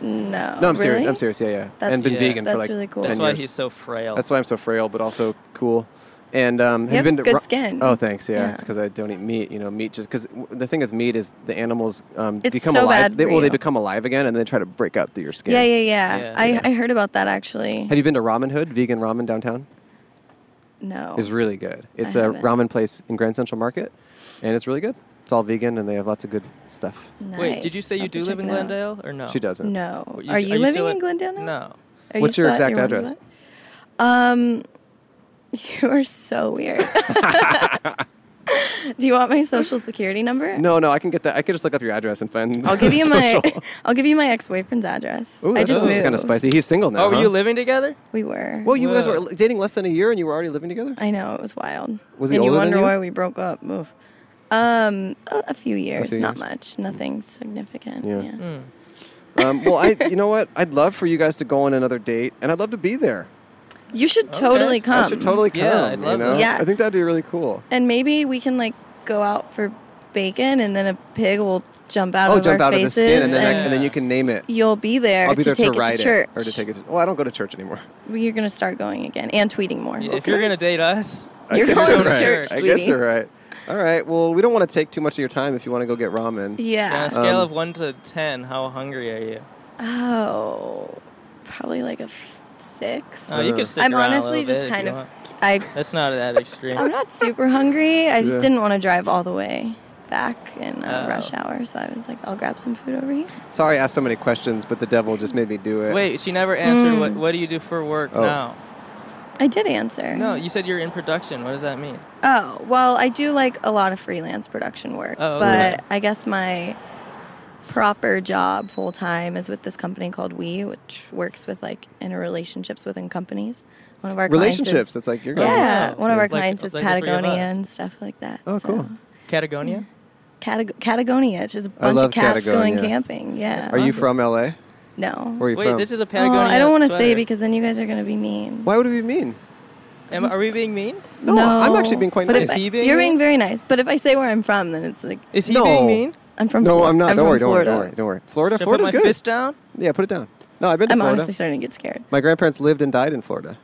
E: No.
B: No, I'm serious.
E: Oh, Really?
B: I'm serious. Yeah, yeah.
E: That's-
B: and been
A: Yeah.
B: vegan for
E: that's
B: like
E: really cool.
B: 10
A: That's why
B: years.
A: he's so frail.
B: That's why I'm so frail, but also cool. And um, have
E: You
B: you
E: have
B: been to
E: good
B: ra-
E: skin.
B: Oh, thanks. Yeah,
E: Yeah.
B: it's because I don't eat meat. You know, meat just because the thing with meat is the animals um,
E: It's
B: become
E: so
B: alive.
E: bad
B: they,
E: for
B: well, they
E: you.
B: become alive again, and they try to break up through your skin.
E: Yeah, yeah, yeah.
A: Yeah.
E: I,
A: Yeah.
E: I heard about that actually.
B: Have you been to Ramen Hood, vegan ramen downtown?
E: no.
B: It's really good. It's
E: I
B: a
E: haven't.
B: ramen place in Grand Central Market, and it's really good. It's all vegan, and they have lots of good stuff.
A: Wait, did you say
E: Nice.
A: you
E: I'll have to
A: do
E: check
A: live in
E: it out.
A: Glendale or no?
B: She doesn't.
E: No.
A: Well,
E: are you, living
A: still
E: in Glendale now?
A: No.
E: Are you
B: What's your
E: still at
B: exact
E: mom's
B: address?
E: wa- Um, you are so weird. Do you want my social security number?
B: No, no, I can get that. I could just look up your address and find.
E: I'll give you my
B: social.
E: I'll give you my ex boyfriend's address.
B: Ooh,
E: I
B: that's
E: just moved.
B: kind of spicy. He's single now.
A: Oh, were
B: huh?
A: you living together?
E: We were.
B: Well, you guys
A: Whoa.
B: were li- dating less than a year, and you were already living together.
E: I know it was wild.
B: Was he
E: and you
B: older than
E: wonder
B: you?
E: why we broke up? Move. Um, a, a few years,
B: few
E: not
B: years.
E: much, nothing significant.
B: Yeah.
E: Yeah.
B: um, well, I, you know what? I'd love for you guys to go on another date, and I'd love to be there.
E: You should totally
B: I
E: come.
B: should totally come.
A: Yeah, I'd
B: you
A: love
B: know?
A: that.
E: Yeah.
B: I think that'd be really cool.
E: And maybe we can like go out for bacon, and then a pig will jump out
B: oh,
E: of
B: jump
E: our
B: out of the
E: faces,
B: skin, and then I-
A: and-
B: and then you can name it.
E: you'll be there
B: I'll be
E: to
B: there
E: take
B: to ride
E: it to church.
B: or to take it. To, well, I don't go to church anymore.
E: You're gonna start going again and tweeting more.
A: If you're gonna date us,
B: I
E: You're
B: guess
E: going
B: you're
A: to
B: right.
A: church,
B: I guess
E: sweetie.
B: you're right. All right. Well, we don't want to take too much of your time. If you want to go get ramen,
A: on
E: Yeah.
A: a scale
B: Um,
A: of one to ten, how hungry are you?
E: Oh, probably like a f- six.
A: Oh, you
B: Uh,
A: can stick
E: I'm
A: around a
E: honestly
A: little
E: just
A: bit if
E: kind
A: you
E: of-
A: want.
E: I
A: That's not that extreme.
E: I'm not super hungry. I just
B: Yeah.
E: didn't want to drive all the way back in uh,
A: Oh.
E: rush hour, so I was like, I'll grab some food over here.
B: sorry, I asked so many questions, but the devil just made me do it.
A: Wait, she never answered.
E: Mm.
A: What What do you do for work
B: Oh.
A: now?
E: I did answer.
A: No, you said you're in production. What does that mean?
E: Oh well, I do like a lot of freelance production work,
A: Oh, okay.
E: but I guess my proper job full time is with this company called We, which works with like interrelationships within companies. One of our clients is-
B: relationships. It's like you're going.
E: yeah,
A: Oh,
E: one of our
A: like-
E: clients is
A: like the three of
E: Patagonia
A: us.
E: and stuff like that.
B: Oh, cool.
A: Catagonia.
E: Catag- Catagonia, it's just a
B: I
E: bunch
B: love
E: of cats
B: Catagonia.
E: going camping. Yeah.
B: Are you from LA? Where
E: No.
B: are you
A: Wait,
B: from?
A: this is a
E: Oh,
A: Patagonia.
E: I don't want to say
A: sweater.
E: because then you guys are going to be mean.
B: Why would we mean?
A: Am, are we being mean?
B: No, I'm actually being quite
E: but if
B: nice.
E: I-
A: Is he being
E: you're
A: mean?
E: being very nice, but if I say where I'm from, then it's like
A: Is he
B: No.
A: being mean?
E: I'm from.
B: no,
E: Flor-
B: I'm not. don't
E: from
B: worry. Don't worry.
E: Florida.
B: Don't worry. Don't worry. Florida.
A: Should I put
B: Florida's
A: my
B: good.
A: fist down?
B: Yeah, put it down. No, I've been to
E: I'm
B: Florida.
E: honestly starting to get scared.
B: My grandparents lived and died in Florida.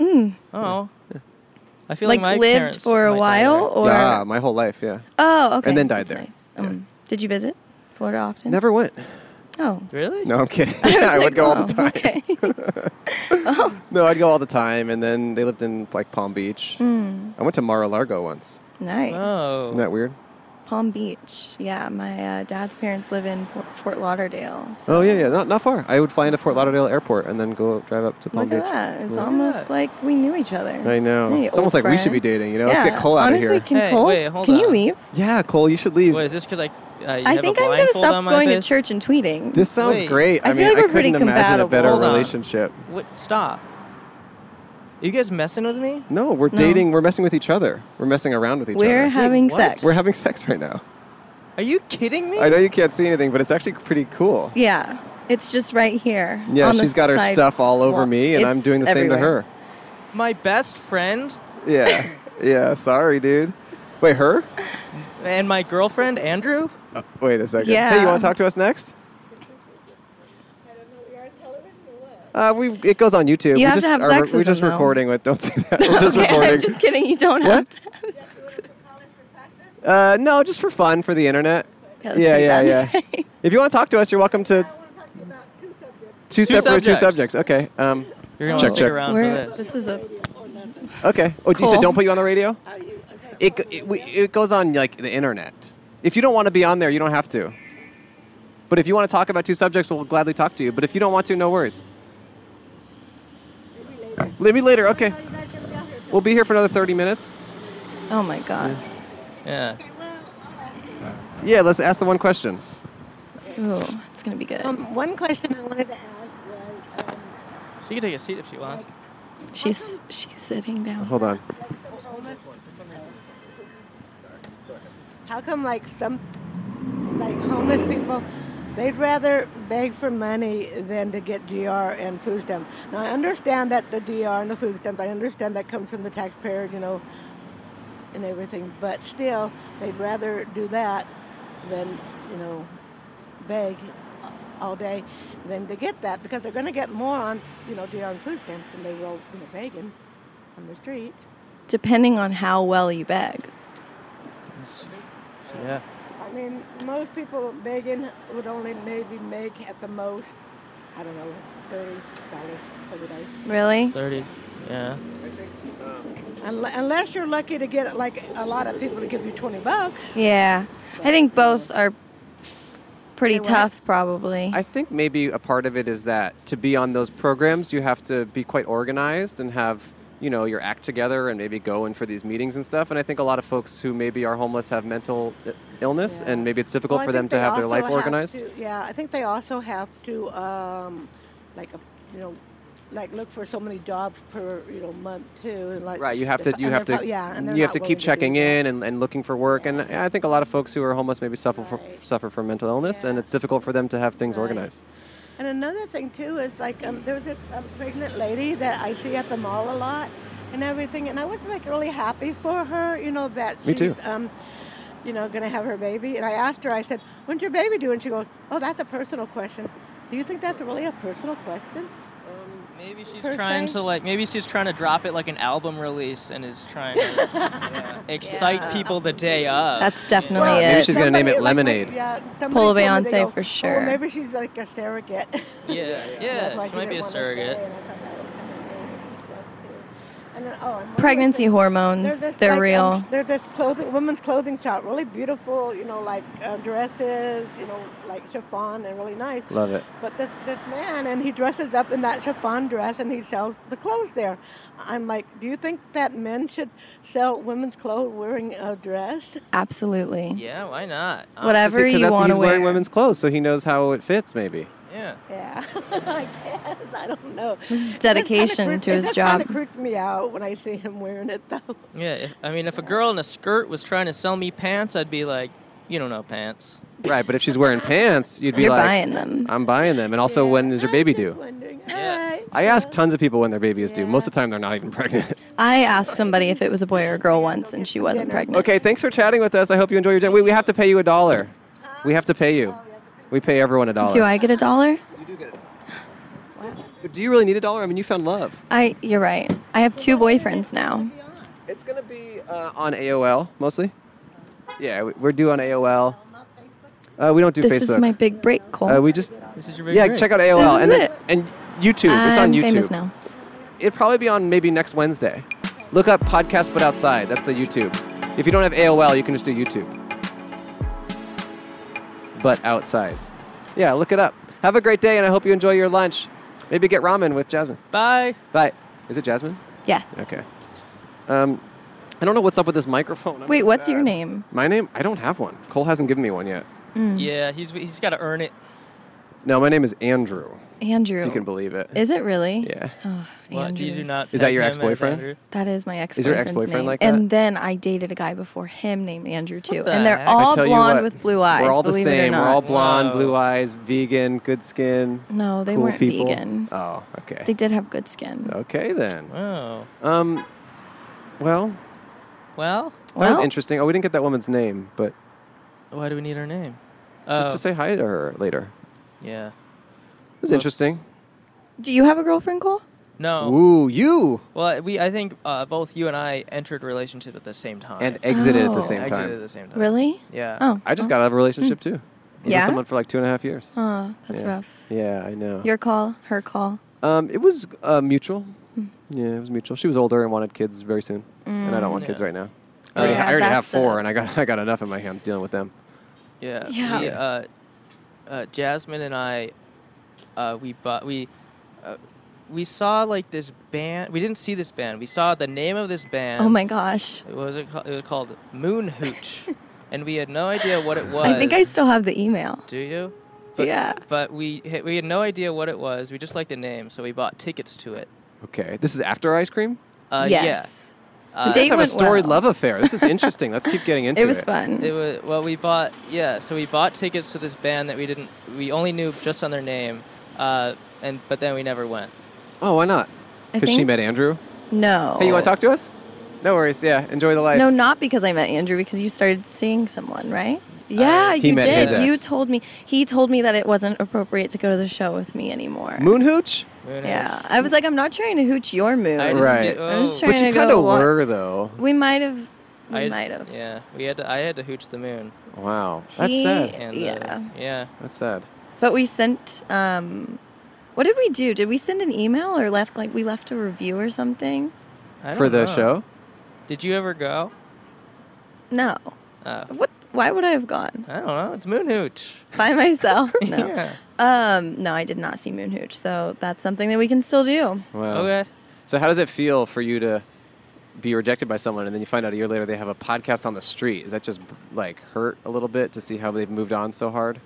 A: Oh. I feel like,
E: Like,
A: my
E: lived
A: parents
E: for a
A: might die
E: while,
A: there.
E: or
B: yeah, my whole life. Yeah,
E: oh, okay,
B: and then died
E: That's
B: there.
E: nice. Um, Did you visit Florida often?
B: never went.
E: Oh,
A: Really?
B: No, I'm kidding.
E: was
B: I,
E: like,
B: would go all the
E: oh,
B: time.
E: Okay.
B: No, I'd go all the time, and then they lived in like Palm Beach.
E: Hmm,
B: I went to Mar-a-Lago once.
E: nice.
A: Oh.
B: Isn't that weird?
E: Palm Beach. Yeah, my uh, dad's parents live in Port- Fort Lauderdale. So
B: Oh yeah, yeah, not not far. I would fly into Fort Lauderdale Airport and then go drive up to Palm
E: Look at
B: Beach.
E: that. It's
B: Yeah.
E: almost
A: that.
E: like we knew each other.
B: I know.
E: Hey,
B: it's
E: old
B: almost like we should be
E: friend.
B: dating. You know,
E: yeah.
B: let's get Cole out
E: Honestly,
B: of here.
E: Can
A: Hey,
E: Cole?
A: wait, hold
E: can you
A: on.
E: leave?
B: Yeah, Cole, you should leave.
A: Wait, is this because I Uh, you
E: I
A: have a
E: think I'm gonna
A: blindfold on
E: stop
A: my
E: going to
A: face?
E: church and tweeting.
B: This sounds
A: Wait.
B: great. I,
E: I
B: mean,
E: feel like
B: I
E: we're
B: couldn't
E: pretty
B: imagine a
E: compatible.
B: better
A: Hold on.
B: relationship.
A: Wait, stop. you guys messing with me?
B: No, we're
E: No.
B: dating. We're messing with each other. We're messing around with each
E: We're
B: other.
E: having
A: what?
E: sex.
B: we're having sex right now.
A: Are you kidding me?
B: I know you can't see anything, but it's actually pretty cool.
E: yeah, it's just right here.
B: Yeah,
E: on the
B: she's got her
E: side
B: stuff all over
E: wall.
B: me, and I'm
E: It's
B: doing the same to
E: everywhere.
B: her.
A: My best friend
B: Yeah, yeah. Sorry, dude. Wait, her?
A: and my girlfriend Andrew.
B: Wait a second. Hey,
E: Yeah.
B: you want to talk to us next?
D: I don't know, you're on television or what?
B: Uh, we it goes on YouTube. we
E: have to
B: just
E: have
B: are-
E: sex
B: We're
E: with
B: just
E: them, though.
B: recording with. Don't say that. We're just
E: Okay,
B: recording.
E: I'm just kidding. You don't
B: What?
E: have to.
D: You went to college for practice?
B: Uh, no, just for fun, for the internet.
E: That was
B: Yeah,
E: pretty
B: yeah,
E: bad to
B: yeah.
E: say.
B: If you want to talk to us, you're welcome to
D: I want to talk to you about two subjects.
B: two, separate two
A: subjects.
B: subjects. Okay. Um,
A: You're gonna
B: Check,
A: stick
B: check.
A: around
E: We're-
A: for this.
E: this is a
B: okay. Oh, you
E: Cool.
B: said don't put Uh, you on the radio. It go- it, we, it goes on like the internet. If you don't want to be on there, you don't have to. But if you want to talk about two subjects, we'll gladly talk to you. But if you don't want to, no worries. Maybe later. Okay.
D: Are you guys going to be out here?
B: We'll be here for another 30 minutes.
E: oh my god.
A: Yeah.
D: Well, I'll ask you.
B: Yeah, let's ask the one question.
E: Ooh, it's gonna be good.
D: Um, one question I wanted to ask was, um,
A: She can take a seat if she wants.
E: she's she's sitting down.
B: Hold on.
G: How come like some like homeless people they'd rather beg for money than to get GR and food stamps. Now I understand that the GR and the food stamps, I understand that comes from the taxpayer, you know, and everything, but still they'd rather do that than, you know, beg all day than to get that because they're gonna get more on, you know, GR and food stamps than they will, you know, begging on the street.
E: Depending on how well you beg.
A: Yeah.
G: I mean, most people begging would only maybe make at the most, I don't know, thirty dollars for the day,
E: Really?
A: Thirty. Yeah.
G: Unle- unless you're lucky to get like a lot of people to give you twenty bucks.
E: Yeah. I think both are pretty
G: They what?
E: tough, probably.
B: I think maybe a part of it is that to be on those programs, you have to be quite organized and have you know your act together and maybe go in for these meetings and stuff. And I think a lot of folks who maybe are homeless have mental i- illness,
G: Yeah.
B: and maybe it's difficult
G: Well, I
B: for them
G: think
B: to
G: they
B: have their
G: also
B: life
G: have
B: organized.
G: to- yeah, I think they also have to, um, like, a, you know, like look for so many jobs per you know month too, and like
B: Right, you have
G: they're
B: to
G: pro-
B: you
G: and
B: have
G: they're
B: to
G: pro- yeah, and they're
B: you have
G: not
B: to
G: willing
B: keep
G: do
B: checking
G: that.
B: in and, and looking for work and I think a lot of folks who are homeless maybe suffer for,
G: Right.
B: suffer from mental illness and
G: Yeah.
B: it's difficult for them to have things
G: Right.
B: organized.
G: And another thing too is like um, there was this um, pregnant lady that I see at the mall a lot and everything, and I was like really happy for her, you know that
B: Me
G: she's
B: too.
G: um, you know gonna have her baby. And I asked her, I said, "When's your baby due?" And she goes, "Oh, that's a personal question. Do you think that's really a personal question?"
A: Maybe she's
G: Per
A: trying
G: se?
A: to like. Maybe she's trying to drop it like an album release and is trying to yeah, excite
G: Yeah.
A: people the day of.
E: That's definitely
G: Well,
B: maybe
E: it.
B: she's gonna name
G: Somebody-
B: it
G: like,
B: Lemonade.
G: yeah, somebody
E: Paula
G: told me, they
E: Beyonce
G: go,
E: for
G: "Oh,
E: sure."
G: maybe she's like a surrogate.
A: Yeah, yeah.
G: That's why
A: she might
G: didn't
A: be a
G: want us to
A: surrogate.
G: say, and I thought that was kinda weird. And then- oh, and one other
E: Pregnancy
G: thing-
E: hormones,
G: They're, just
E: they're
G: like, um,
E: real.
G: they're just clothing, women's clothing shop, really beautiful, you know, like uh, dresses, you know, like chiffon and really nice.
B: Love it.
G: But this this man, and he dresses up in that chiffon dress, and he sells the clothes there. I'm like, do you think that men should sell women's clothes wearing a dress?
E: Absolutely.
A: Yeah, why not? Uh,
E: Whatever
B: Because
E: you
B: that's-
E: want
B: he's
E: to wear.
B: wearing women's clothes so he knows how it fits maybe.
A: Yeah.
G: Yeah, I guess I don't know. It's
E: dedication to his
G: It
E: job.
G: kind of creeps me out when I see him wearing it, though.
A: Yeah. If, I mean, if a girl in a skirt was trying to sell me pants, I'd be like, you don't know pants.
B: Right, but if she's wearing pants, you'd be
E: You're
B: like
E: buying them.
B: I'm buying them. And also,
G: Yeah.
B: when is your
G: I'm
B: baby
G: just
B: due?
G: wondering.
A: Yeah.
G: Alright.
B: I ask tons of people when their baby is due.
G: Yeah.
B: Most of the time, they're not even pregnant.
E: I asked somebody if it was a boy or a girl once, and she wasn't pregnant.
B: okay, thanks for chatting with us. I hope you enjoy your day. Wait, we have to pay you a dollar. We have to pay you. We pay everyone a dollar.
E: Do I get a dollar?
B: You do get a dollar. But do you really need a dollar? I mean, you found love.
E: I. You're right. I have two boyfriends now.
B: It's going to be uh, on AOL mostly. Yeah, we- we're due on AOL. Uh, we don't do
E: This
B: Facebook.
E: is my big break, Cole.
B: uh, we just
A: This is your big
B: yeah.
A: break.
B: Check out AOL
E: This
B: and
E: is
B: then,
E: it.
B: and YouTube.
E: I'm
B: it's on YouTube.
E: famous now.
B: it'd probably be on maybe next Wednesday. Look up podcast but outside. That's the YouTube. If you don't have AOL, you can just do YouTube. But outside. Yeah, look it up. Have a great day, and I hope you enjoy your lunch. Maybe get ramen with Jasmine.
A: Bye.
B: Bye. Is it Jasmine?
E: Yes.
B: Okay. Um, I don't know what's up with this microphone. I'm
E: Wait,
B: so
E: what's your
B: sad.
E: name?
B: My name? I don't have one. Cole hasn't given me one yet.
A: Yeah, he's he's got to earn it.
B: No, my name is Andrew.
E: Andrew.
B: If you can believe it.
E: Is it really?
B: yeah.
E: Oh,
A: What, you do
E: Andrews.
A: not.
B: Is that
A: tag
B: your
A: him as
B: ex-boyfriend?
A: Andrew?
E: That is my ex.
B: your ex-boyfriend like
E: And then I dated a guy before him named Andrew too,
A: the
E: and they're
A: heck? I
E: all
B: tell you
E: blonde
B: what,
E: with blue eyes.
B: We're all the
E: believe It or
B: same.
E: not.
B: We're all blonde,
A: Wow.
B: blue eyes, vegan, good skin.
E: no, they
B: cool
E: weren't
B: people.
E: vegan.
B: Oh, okay.
E: They did have good skin.
B: okay then.
A: Oh.
B: Um, well,
A: Well,
B: that was
E: Well,
B: interesting. Oh, we didn't get that woman's name, but
A: why do we need her name?
B: just
A: Oh,
B: to say hi to her later.
A: Yeah.
B: It was
A: Well,
B: interesting.
E: do you have a girlfriend, Cole?
A: No.
B: Ooh, you
A: Well, we I think uh, both you and I entered relationships at the same time.
B: and exited at the
E: Oh.
B: same
A: exited
B: time.
A: at the same time.
E: Really?
A: Yeah.
E: Oh.
B: Uh,
E: Hmm.
B: I just got out of a relationship too. I was with
E: Yeah?
B: someone for like two and a half years.
E: Oh, that's
B: Yeah.
E: rough.
B: Yeah, I know.
E: Your call, her call.
B: Um, it was uh, mutual.
E: Hmm.
B: Yeah, it was mutual. She was older and wanted kids very soon, and I don't want kids
A: Yeah.
B: right now. Mm. I already,
E: Yeah,
B: I already have
E: that's
B: four,
E: a-
B: and I got I got enough in my hands dealing with them.
A: Yeah.
E: Yeah.
A: We, uh, uh, Jasmine and I, uh, we bought we, uh, we saw like this band. We didn't see this band. We saw the name of this band.
E: Oh my gosh.
A: What was it called? It was called Moon Hooch, and we had no idea what it was.
E: I think I still have the email.
A: Do you?
E: Yeah.
A: But we ha- we had no idea what it was. We just liked the name, so we bought tickets to it.
B: Okay, this is after ice cream.
A: Uh,
E: yes.
A: Yeah. Uh,
E: The
B: They
E: It
B: have a
E: went
B: storied
E: well.
B: love affair. This is interesting. Let's keep getting into it.
E: It was fun.
A: It was well. We bought yeah. So we bought tickets to this band that we didn't. We only knew just on their name, uh, and but then we never went.
B: Oh, why not?
E: I
B: Because she
E: think-
B: met Andrew.
E: no.
B: Hey, you want to talk to us? No worries. Yeah, enjoy the life.
E: No, not because I met Andrew, because you started seeing someone, right?
A: Uh,
E: Yeah,
B: he
E: you
B: met his
E: did.
B: ex.
E: You told me. He told me that it wasn't appropriate to go to the show with me anymore.
B: Moon hooch.
A: Who knows?
E: Yeah, I was like, I'm not trying to hooch your moon.
A: I just
B: Right.
A: get-
E: I'm just
A: oh.
E: trying
B: But you
E: to go
B: kind of
E: wa-
B: were though.
E: We might have. We
A: I-
E: might have.
A: Yeah, we had to. I had to hooch the moon.
B: Wow, that's
E: He-
B: sad.
A: And
E: Yeah.
A: Uh, yeah.
B: That's sad.
E: But we sent. Um, what did we do? Did we send an email or left like we left a review or something?
A: I
B: For
A: don't
B: the
A: know.
B: show.
A: Did you ever go?
E: No.
A: Oh.
E: What? Why would I have gone
A: I don't know. It's moon hooch.
E: by myself? No.
A: Yeah.
E: Um, no, I did not see Moon Hooch, so that's something that we can still do.
B: Wow.
A: Okay.
B: So how does it feel for you to be rejected by someone and then you find out a year later they have a podcast on the street? Is that just like hurt a little bit to see how they've moved on so hard?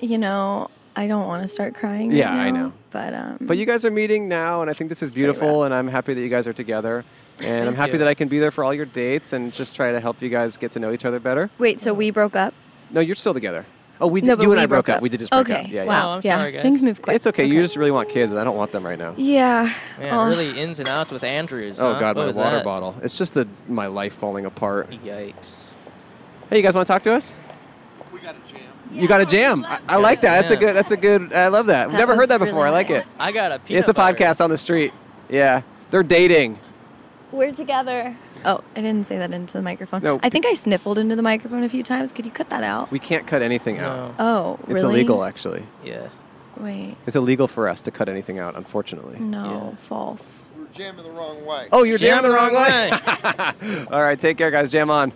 E: You know, I don't want to start crying. right
B: Yeah, I
E: now,
B: know.
E: But um,
B: But you guys are meeting now and I think this is beautiful and I'm happy that you guys are together. And I'm
A: Thank
B: happy
A: you.
B: that I can be there for all your dates and just try to help you guys get to know each other better.
E: wait. So we broke up.
B: No, you're still together. Oh, we did,
E: No, but
B: you
E: we
B: and I
E: broke
B: broke up. We did just break
E: okay.
B: up. Yeah,
E: wow.
A: Oh, I'm
E: yeah.
A: sorry, guys.
E: Things move
B: yeah.
E: quick.
B: It's okay. You just really want kids and I don't want them right now.
E: Yeah.
A: Man,
E: Oh.
A: really ins and outs with Andrews.
B: Oh
A: huh?
B: god,
A: What
B: my
A: was
B: water
A: that?
B: bottle. It's just the my life falling apart.
A: Yikes.
B: Hey, you guys want to talk to us?
H: We got a jam.
B: You got a jam. I, I like that. That's a
A: Yeah.
B: good. That's a good. I love that. I've
E: That
B: Never
E: was
B: heard that
E: really
B: before. I like
E: nice.
B: it.
A: I got a peanut
B: It's a
A: butter.
B: podcast on the street. Yeah, they're dating.
E: We're together. Oh, I didn't say that into the microphone.
B: No.
E: I think I sniffled into the microphone a few times. Could you cut that out?
B: We can't cut anything out.
A: No.
E: Oh,
B: It's
E: really?
B: illegal, actually.
A: Yeah.
E: Wait.
B: It's illegal for us to cut anything out, unfortunately.
E: No,
A: Yeah.
E: false.
H: We were jamming the wrong way.
B: Oh, you're
A: Jam
B: jamming the wrong way. All right, take care, guys. Jam on.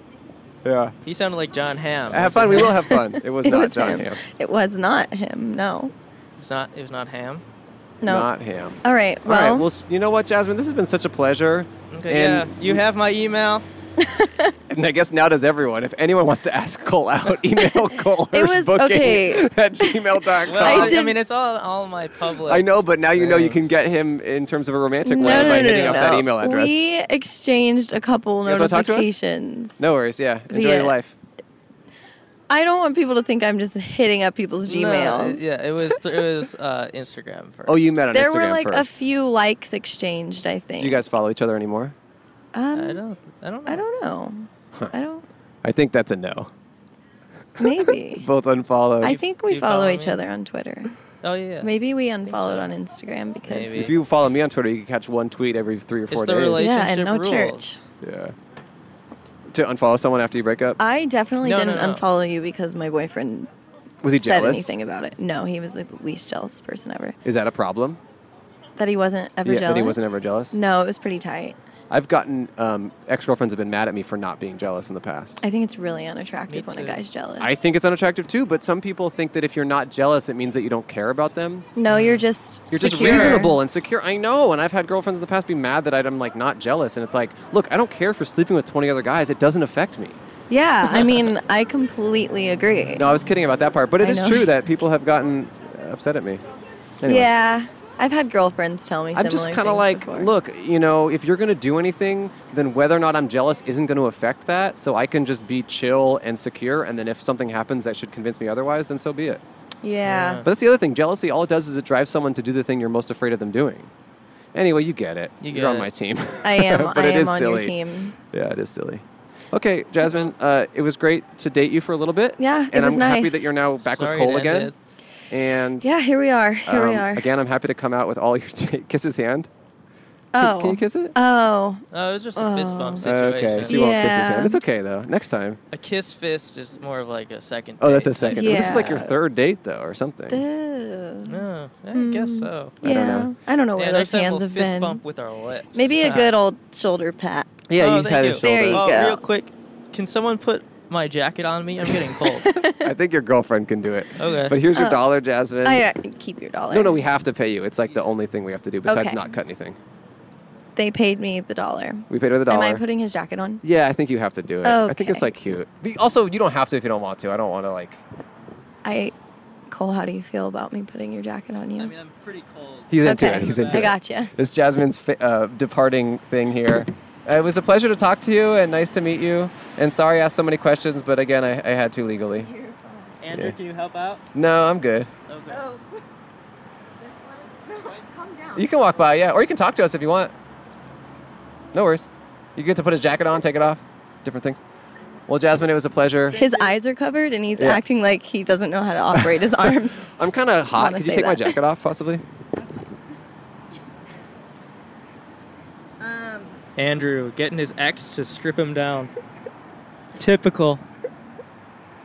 B: Yeah.
A: He sounded like John Hamm.
B: Have fun. We will have fun. It was not John
E: him.
B: Ham.
E: It was not him. No.
A: It's not. It was not Ham.
E: No.
B: Not Ham.
E: All right.
B: All right.
E: Well,
B: Well, s- you know what, Jasmine? This has been such a pleasure.
A: Okay.
B: And-
A: yeah. You have my email.
B: And I guess now does everyone. If anyone wants to ask Cole out, email Cole
E: It was-
B: booking
E: okay.
B: at gmail.com.
A: Well, I, I
E: did-
A: mean, it's all all my public.
B: I know, but now you know you
A: Thanks.
B: can get him in terms of a romantic
E: no,
B: way
E: no, no,
B: by
E: no,
B: hitting
E: no,
B: up that
E: no.
B: email address.
E: We exchanged a couple
B: guys wanna talk to us?
E: notifications.
B: no worries. Yeah, enjoy
E: Yeah.
B: your life.
E: I don't want people to think I'm just hitting up people's
A: No,
E: Gmails.
A: it- yeah. It was. Th- it was uh, Instagram first.
B: Oh, you met on
E: There
B: Instagram
E: were like a
B: first.
E: few likes exchanged, I think.
B: you guys follow each other anymore?
E: Um,
A: I don't. I don't. Know.
E: I don't know. I don't.
B: I think that's a no.
E: Maybe.
B: Both unfollowed.
E: I think
A: do
E: we
A: you
E: follow,
A: follow
E: each
A: me?
E: other on Twitter.
A: Oh yeah.
E: Maybe we unfollowed on Instagram because
A: Maybe.
B: if you follow me on Twitter, you can catch one tweet every three or four
A: the
B: days.
A: relation-
E: yeah, and no
A: Relationship rules.
E: church.
B: yeah. To unfollow someone after you break up?
E: I definitely
A: No, no,
E: didn't
A: no.
E: unfollow you because my boyfriend
B: Was he
E: said
B: jealous?
E: anything about it. No, he was the least jealous person ever.
B: Is that a problem?
E: That he wasn't ever
B: Yeah,
E: jealous.
B: that he wasn't ever jealous?
E: No, it was pretty tight.
B: I've gotten um, ex girlfriends have been mad at me for not being jealous in the past.
E: I think it's really unattractive
A: Me
E: when
A: too.
E: a guy's jealous.
B: I think it's unattractive too, but some people think that if you're not jealous, it means that you don't care about them.
E: no, you're just
B: You're
E: secure.
B: just reasonable and secure. I know, and I've had girlfriends in the past be mad that I'm like not jealous, and it's like, look, I don't care if you're sleeping with 20 other guys. It doesn't affect me.
E: Yeah, I mean, I completely agree.
B: No, I was kidding about that part, but it
E: I
B: is
E: know.
B: true that people have gotten upset at me. Anyway.
E: Yeah, I've had girlfriends tell me.
B: I'm just
E: similar
B: kind of like,
E: things before.
B: look, you know, if you're going to do anything, then whether or not I'm jealous isn't going to affect that. So I can just be chill and secure. And then if something happens that should convince me otherwise, then so be it.
E: Yeah.
B: But that's the other thing. Jealousy, all it does is it drives someone to do the thing you're most afraid of them doing. Anyway, you get it.
A: You
B: are
A: get
B: on
A: it.
B: my team.
E: I am.
B: but
E: I
B: it
E: am
B: is
E: on your
B: silly.
E: team.
B: Yeah, it is silly. Okay, Jasmine, uh, it was great to date you for a little bit.
E: Yeah, it
B: and
E: was
B: I'm happy
E: nice.
B: that you're now back
A: Sorry
B: with Cole
A: to end
B: again.
A: it.
B: And
E: Yeah, here we are. Here we
B: um,
E: are.
B: again, I'm happy to come out with all your t- kiss his hand. Can-
E: oh.
B: can you kiss it?
E: Oh.
A: Oh, it was just a fist bump situation.
B: Okay, she won't kiss his
E: Yeah.
B: hand. It's okay though. Next time.
A: A kiss fist is more of like a second.
B: Oh, that's
A: date
B: a second.
A: type
B: This is like your
E: Yeah.
B: third date though, or something.
A: thing.
E: Ew.
A: No, I guess so.
B: I don't
E: yeah.
B: know.
E: I don't know
A: yeah,
E: Hmm.
A: next
E: Oh, where those
A: time
E: hands
A: we'll
E: have
A: fist
E: been.
A: bump with our lips.
E: Maybe a
A: Ah.
E: good old shoulder pat.
B: Yeah,
A: oh,
B: you
A: thank
B: had his
A: you.
B: shoulder.
E: There you
A: oh,
E: go.
A: Real quick, can someone put my jacket on me? I'm getting cold.
B: I think your girlfriend can do it.
A: Okay.
B: But here's your
E: Oh.
B: dollar, Jasmine.
E: I uh, keep your dollar.
B: no, no, we have to pay you. It's like the only thing we have to do besides
E: Okay.
B: not cut anything.
E: They paid me the dollar.
B: We paid her the dollar.
E: Am I putting his jacket on?
B: yeah, I think you have to do it. I think it's
E: Okay.
B: like cute. Be- Also, you don't have to if you don't want to. I don't want to like.
E: I, Cole, how do you feel about me putting your jacket on you?
A: I mean, I'm pretty cold.
B: He's into
E: okay.
B: it. He's into
E: I
B: it.
E: gotcha.
B: It's Jasmine's fa- uh, departing thing here. Uh, It was a pleasure to talk to you and nice to meet you. And sorry I asked so many questions, but again, I, I had to legally.
A: Andrew,
B: Yeah.
A: can you help out?
B: No, I'm good.
A: Okay.
B: You can walk by, yeah, or you can talk to us if you want. No worries. You get to put his jacket on, take it off, different things. Well, Jasmine, it was a pleasure.
E: His eyes are covered, and he's
B: Yeah.
E: acting like he doesn't know how to operate his arms.
B: I'm kind of hot.
E: wanna
B: Could you
E: say
B: take my
E: that.
B: jacket off, possibly?
E: Um,
A: Andrew getting his ex to strip him down. Typical.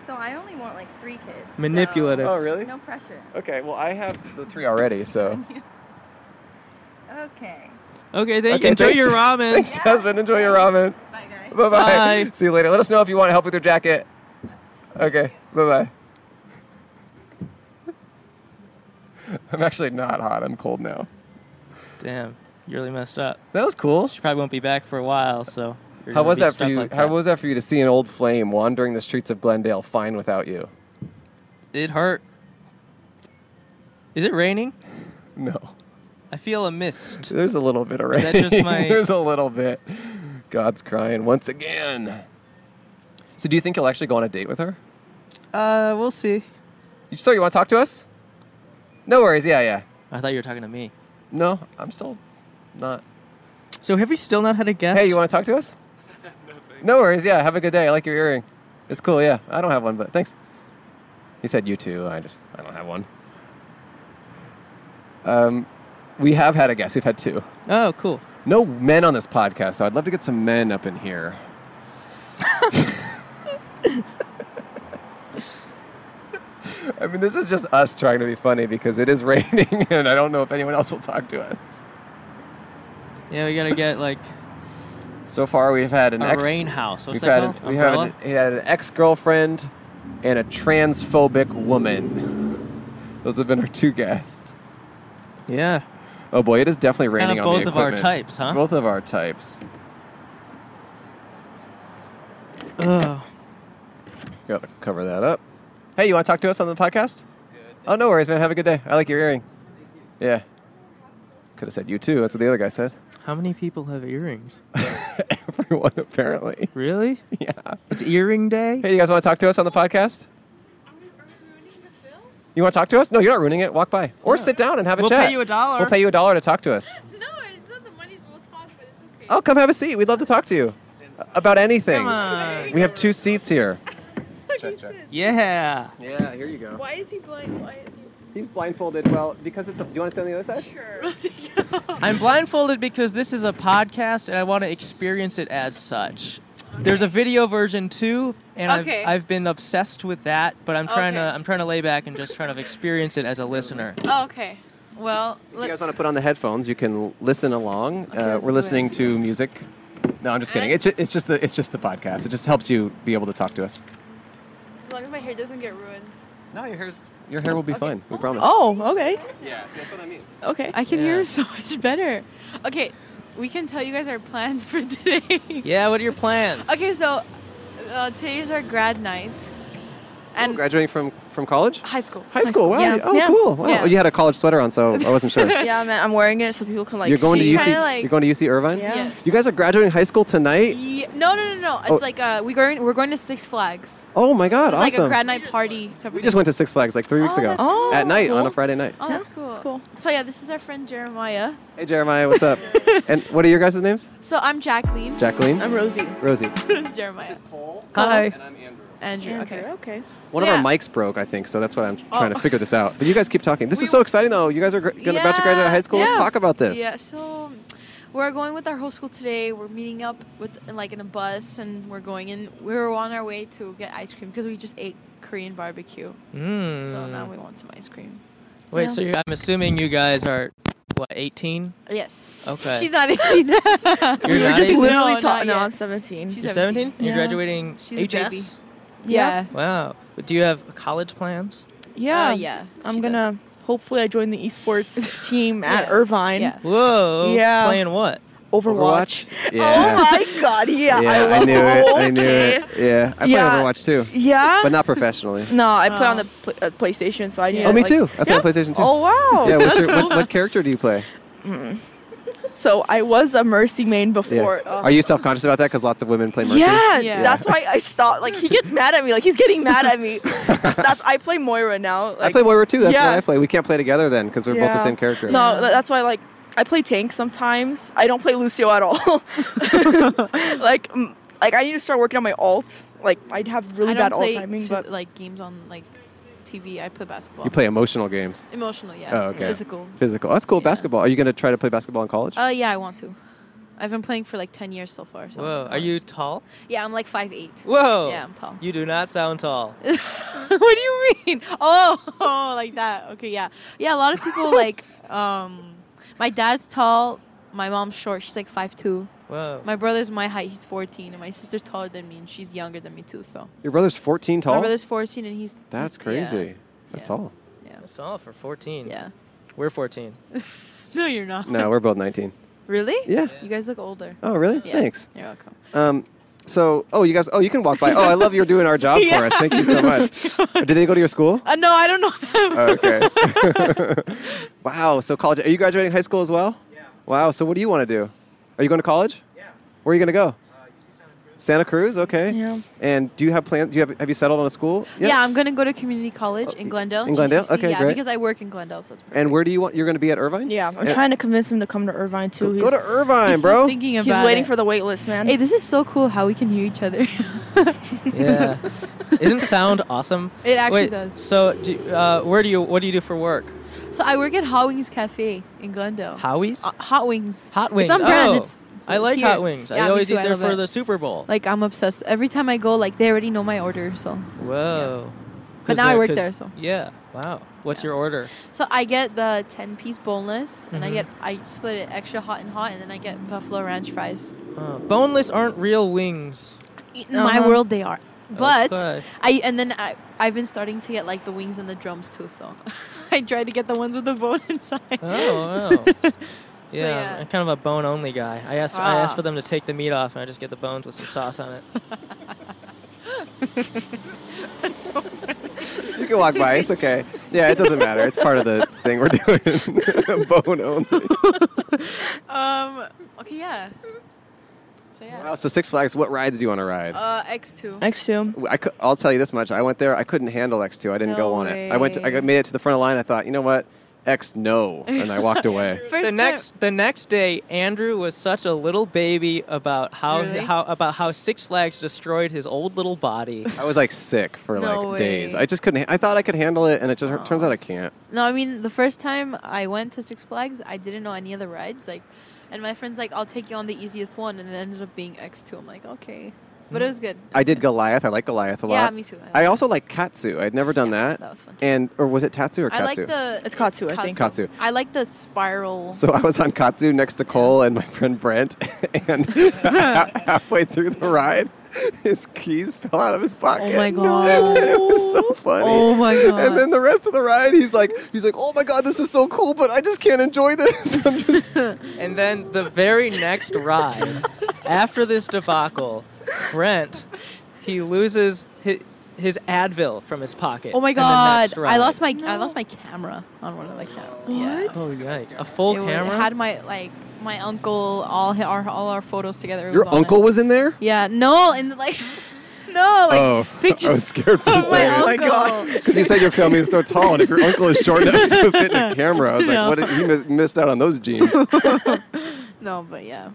E: so I only want like three kids.
A: Manipulative.
B: Oh, really?
E: pressure.
B: Okay. Well, I have the three already, so.
E: Okay.
A: Okay, thank
B: Okay,
A: you. Enjoy
B: thanks,
A: your
B: Ja-
A: ramen.
B: Thanks, Jasmine. Enjoy your ramen.
E: Bye, guys.
B: Bye bye.
A: Bye.
B: See you later. Let us know if you want help with your jacket. Okay. Bye bye. I'm actually not hot. I'm cold now.
A: Damn, you really messed up.
B: That was cool.
A: She probably won't be back for a while, so. you're
B: How
A: gonna
B: was
A: be
B: that for
A: stuck
B: you?
A: like
B: how
A: that.
B: was that for you to see an old flame wandering the streets of Glendale, fine without you?
A: it? Hurt. Is it raining?
B: No,
A: I feel a mist.
B: there's a little bit of rain.
A: that just my-
B: there's a little bit. God's crying once again. So, do you think you'll actually go on a date with her?
A: Uh, we'll see.
B: You so you want to talk to us? No worries. Yeah, yeah.
A: I thought you were talking to me.
B: No, I'm still not.
A: So have we still not had a guest?
B: Hey, you want to talk to us? no worries. Yeah, have a good day. I like your earring. It's cool. Yeah, I don't have one, but thanks. He said you too. I just I don't have one. Um, we have had a guest. We've had two.
A: Oh, cool.
B: No men on this podcast, though. I'd love to get some men up in here. I mean, this is just us trying to be funny because it is raining, and I don't know if anyone else will talk to us.
A: Yeah, we gotta get like
B: So far, we've had an
A: a
B: ex-
A: Uh, rain house. What's
B: We've
A: that
B: had,
A: called?
B: an, we had, an,
A: Umbrella?
B: he had an ex-girlfriend and a transphobic woman. Those have been our two guests.
A: Yeah.
B: Oh boy, it is definitely raining
A: Kind of
B: on
A: both
B: the
A: of our
B: equipment.
A: types, huh?
B: Both of our types.
A: Ugh.
B: Gotta cover that up. Hey, you want to talk to us on the podcast? oh, no worries, man. Have a good day. I like your earring. Yeah. Could have said you too. That's what the other guy said.
A: How many people have earrings?
B: Everyone apparently.
A: Really?
B: Yeah.
A: It's earring day?
B: Hey, you guys want to talk to us on the podcast? You want to talk to us? No, you're not ruining it. Walk by or sit down and have a
A: We'll
B: chat.
A: pay you a dollar.
B: We'll pay you a dollar to talk to us.
D: No, it's not the money's worth talk, but it's okay.
B: Oh, come have a seat. We'd love to talk to you about anything.
A: Come on.
B: We have two seats here.
A: Yeah.
B: Yeah, here you go.
D: Why is he blind? Why is he?
B: He's blindfolded. Well, because it's. A, do you want to sit on the other side?
A: I'm blindfolded because this is a podcast and I want to experience it as such. There's a video version too, and
D: Okay.
A: I've, I've been obsessed with that. But I'm trying
D: Okay.
A: to I'm trying to lay back and just trying to experience it as a listener.
D: Oh, okay. Well,
B: If you
D: let's.
B: guys want to put on the headphones, you can listen along. uh,
D: let's
B: we're
D: do
B: listening to music. No, I'm just kidding.
I: Uh,
B: It's, ju- it's just the it's just the podcast. It just helps you be able to talk to us.
D: As long as my hair doesn't get ruined.
B: No, your hair's your hair will be fine. We promise.
D: Oh, okay.
B: yeah, that's what I mean.
D: Okay. I can
A: Yeah.
D: hear so much better. Okay, we can tell you guys our plans for today.
A: Yeah. What are your plans?
D: Okay, so
I: uh, today's our grad night.
B: Oh,
I: And
B: graduating from from college?
I: high school.
B: High school. Wow.
J: yeah.
B: you- Oh,
J: Yeah.
B: cool. Wow.
I: Yeah.
B: Oh, You had a college sweater on, so I wasn't sure.
J: yeah, man, I'm wearing it so people can like.
B: you're going to
J: see.
I: She's
B: UC.
I: kinda like-
B: you're going to UC Irvine.
J: Yeah.
I: Yeah.
B: You guys are graduating high school tonight.
I: Ye- no, no, no, no. It's
B: Oh.
I: like uh, we're going. We're going to Six Flags.
B: Oh my God!
I: It's
B: awesome.
I: like a grad night party. Type
B: we just went to Six Flags like three weeks
I: Oh,
B: ago
I: that's
J: cool.
B: at night on
I: cool.
B: a Friday night.
I: Oh,
J: Yeah,
I: that's cool.
J: that's cool.
I: So yeah, this is our friend Jeremiah.
B: Hey Jeremiah, what's up? and what are your guys' names?
I: So I'm Jacqueline.
B: Jacqueline,
J: I'm Rosie.
B: Rosie.
I: this is Jeremiah.
H: Cole.
A: Hi.
H: I'm Andrew.
I: Andrew.
J: Andrew,
I: Okay.
J: okay.
B: One
I: Yeah.
B: of our mics broke, I think, so that's why I'm trying to
I: Oh.
B: figure this out. But you guys keep talking. This
I: We-
B: is so exciting, though. You guys are gr- gonna- about to graduate
I: Yeah,
B: high school. Let's
I: yeah.
B: talk about this.
I: Yeah. So we're going with our whole school today. We're meeting up with like in a bus, and we're going in. We were on our way to get ice cream because we just ate Korean barbecue.
A: Mm.
I: So now we want some ice cream.
A: Wait,
I: yeah.
A: so you're, I'm assuming you guys are what 18?
I: Yes.
A: Okay.
I: She's not 18. You're
A: You're
J: We're
A: not
J: just
A: 18?
J: literally
I: No,
J: talking.
I: not
J: No,
I: yet.
J: I'm 17.
I: She's
A: You're 17? You're
J: Yeah.
A: graduating
I: She's a
A: HS?
I: baby.
J: Yeah.
I: Yeah.
A: Wow. But do you have college plans?
J: yeah.
I: Uh, yeah.
J: I'm
I: she does.
J: gonna hopefully I join the esports team at
I: Yeah.
J: Irvine.
I: Yeah.
A: Whoa.
J: Yeah.
A: Playing what?
J: Overwatch.
B: Yeah.
J: Oh my god. Yeah.
B: yeah,
J: I, love
B: knew it. I knew
J: okay.
B: it. Yeah, I play
J: Yeah.
B: Overwatch too,
J: Yeah.
B: but not professionally.
J: no, I play on
I: Oh.
J: the pl- uh, PlayStation, so I knew.
B: oh, me
J: like-
B: too. I play
J: Yeah.
B: on PlayStation too.
J: Oh wow.
B: yeah, what's
J: That's
B: your, what, what character do you play?
J: So I was a Mercy main
B: Yeah.
J: before. uh,
B: Are you self-conscious about that? Because lots of women play Mercy.
J: Yeah,
I: Yeah.
J: that's why I stopped. Like he gets mad at me. Like he's getting mad at me. that's I play Moira now. Like,
B: I play Moira too. That's
J: Yeah.
B: what I play. We can't play together then because we're both the
J: Yeah.
B: same character.
J: No, tha- that's why like I play tank sometimes. I don't play Lucio at all. like mm, like I need to start working on my alts. Like I'd have really
I: I don't
J: bad alt
I: play
J: timing,
I: phys-
J: but
I: like games on like TV. I play basketball.
B: You play emotional games,
I: emotional, yeah.
B: Oh, okay.
I: Physical.
B: physical. That's cool.
I: Yeah.
B: Basketball. Are you going to try to play basketball in college?
I: Uh, yeah, I want to. I've been playing for like ten years so far. So
A: Whoa. Are you tall?
I: Yeah, I'm like five eight.
A: Whoa.
I: Yeah, I'm tall.
A: You do not sound tall.
I: what do you mean? Oh, like that. Okay, yeah, yeah. A lot of people like. Um, my dad's tall. My mom's short. She's like five two.
A: Whoa.
I: My brother's my height. He's fourteen, and my sister's taller than me, and she's younger than me too. So
B: Your brother's 14
I: my
B: tall.
I: brother's fourteen, and he's
B: That's
I: yeah,
B: crazy. That's
I: Yeah.
B: tall.
I: Yeah,
A: That's tall for 14.
I: yeah.
A: We're 14.
I: No, you're not.
B: No, we're both 19.
I: Really?
B: Yeah.
I: You guys look older.
B: Oh, really?
I: Yeah.
B: Thanks.
I: You're welcome.
B: Um, so, oh, you guys, oh, you can walk by. Oh, I love you're doing our job for us. Thank you so much. Do they go to your school?
I: Uh, no, I don't know them.
B: Oh, okay. wow. So, college. Are you graduating high school as well? Yeah. Wow. So, what do you want to do? Are you going to college? Yeah. Where are you going to go? Santa Cruz, okay.
J: Yeah.
B: And do you have plans? Do you have have you settled on a school? yet?
I: Yeah, I'm gonna go to community college in
B: y-
I: Glendale.
B: in Glendale?
I: GCC,
B: Okay,
I: yeah,
B: great.
I: because I work in Glendale, so it's perfect.
B: And where do you want? You're going to be at Irvine?
J: yeah, I'm
B: Yeah.
J: trying to convince him to come to Irvine
B: Go,
J: too.
B: go to
J: He's-
B: Irvine,
I: He's still
B: bro.
I: Thinking
J: He's
I: about
J: waiting
I: it.
J: for the wait list, man.
I: Hey, this is so cool how we can hear each other.
A: yeah. Isn't sound awesome?
I: It actually
A: Wait,
I: does.
A: So, do, uh, where do you what do you do for work?
I: So I work at Hot Wings Cafe in Glendale.
A: Howies?
I: Uh, hot Wings.
A: hot wings.
I: It's on brand.
A: Oh,
I: It's, it's-
A: I
I: it's
A: like
I: here.
A: hot wings.
I: Yeah,
A: I
I: me
A: always
I: too.
A: eat
I: I
A: there
I: love
A: for
I: it.
A: the Super Bowl.
I: Like I'm obsessed. Every time I go, like they already know my order. So
A: Whoa. 'Cause
I: now I
A: they're-
I: work
A: 'cause-
I: there, so.
A: Yeah. Wow. What's your order?
I: so I get the ten piece boneless, and I
A: Mhm.
I: get I split it extra hot and hot, and then I get buffalo ranch fries.
A: Uh, boneless aren't real wings.
I: In my
J: Uh-huh.
I: world, they are. But
A: Okay.
I: I and then I I've been starting to get like the wings and the drums too. So I try to get the ones with the bone inside.
A: Oh, wow. Yeah,
I: yeah.
A: I'm kind of a bone only guy. I asked I asked
I: Ah.
A: for them to take the meat off, and I just get the bones with some sauce on it.
B: You can walk by. It's okay. Yeah, it doesn't matter. It's part of the thing we're doing. Bone only.
I: Um. Okay. Yeah. So yeah.
B: Wow. So Six Flags. What rides do you want to ride?
I: Uh, X two.
J: X two.
B: I cou- I'll tell you this much. I went there. I couldn't handle X2. I didn't
I: No
B: go on it. I went. To, I
I: way.
B: got- made it to the front of the line. I thought, you know what? X no, and I walked away.
I: First
A: the
I: time-
A: next the next day, Andrew was such a little baby about how
I: Really?
A: how about how Six Flags destroyed his old little body.
B: I was like sick for
I: No
B: like days.
I: way.
B: I just couldn't. I thought I could handle it, and it just turns out I can't.
I: No, I mean the first time I went to Six Flags, I didn't know any of the rides. Like, and my friends like, I'll take you on the easiest one, and it ended up being X two. I'm like, okay, but it was good.
B: I did Goliath. I like Goliath a lot.
I: Yeah, me too.
B: I also like Katsu. I'd never done that.
I: that was fun too.
B: And or was it Tatsu or
I: I
B: Katsu?
I: like the
J: It's Katsu, I think.
B: Katsu.
I: I like the spiral.
B: So I was on Katsu next to Cole and my friend Brent, and ha- halfway through the ride, his keys fell out of his pocket.
I: Oh my God.
B: And it was so funny.
I: Oh my
B: And
I: God.
B: then the rest of the ride, he's like, he's like, oh my god, this is so cool, but I just can't enjoy this. I'm just.
A: And then the very next ride, after this debacle, Brent he loses his, his Advil from his pocket.
I: Oh my
A: and then that's
I: god! I
A: right.
I: lost my I lost my camera on one of the cameras. What?
A: Oh right, a full
I: it wa-
A: camera.
I: had my like my uncle all hi- our all our photos together.
K: Your
I: on it.
K: uncle was in there?
I: Yeah. No, and like no, like
B: oh,
I: pictures.
B: I was scared for a
I: of my
B: second.
I: Oh my uncle. God.
B: Because you said your family is so tall, and if your uncle is short enough to fit in a camera, I was like,
I: No.
B: what? Did, he mis- missed out on those genes.
I: no, but yeah.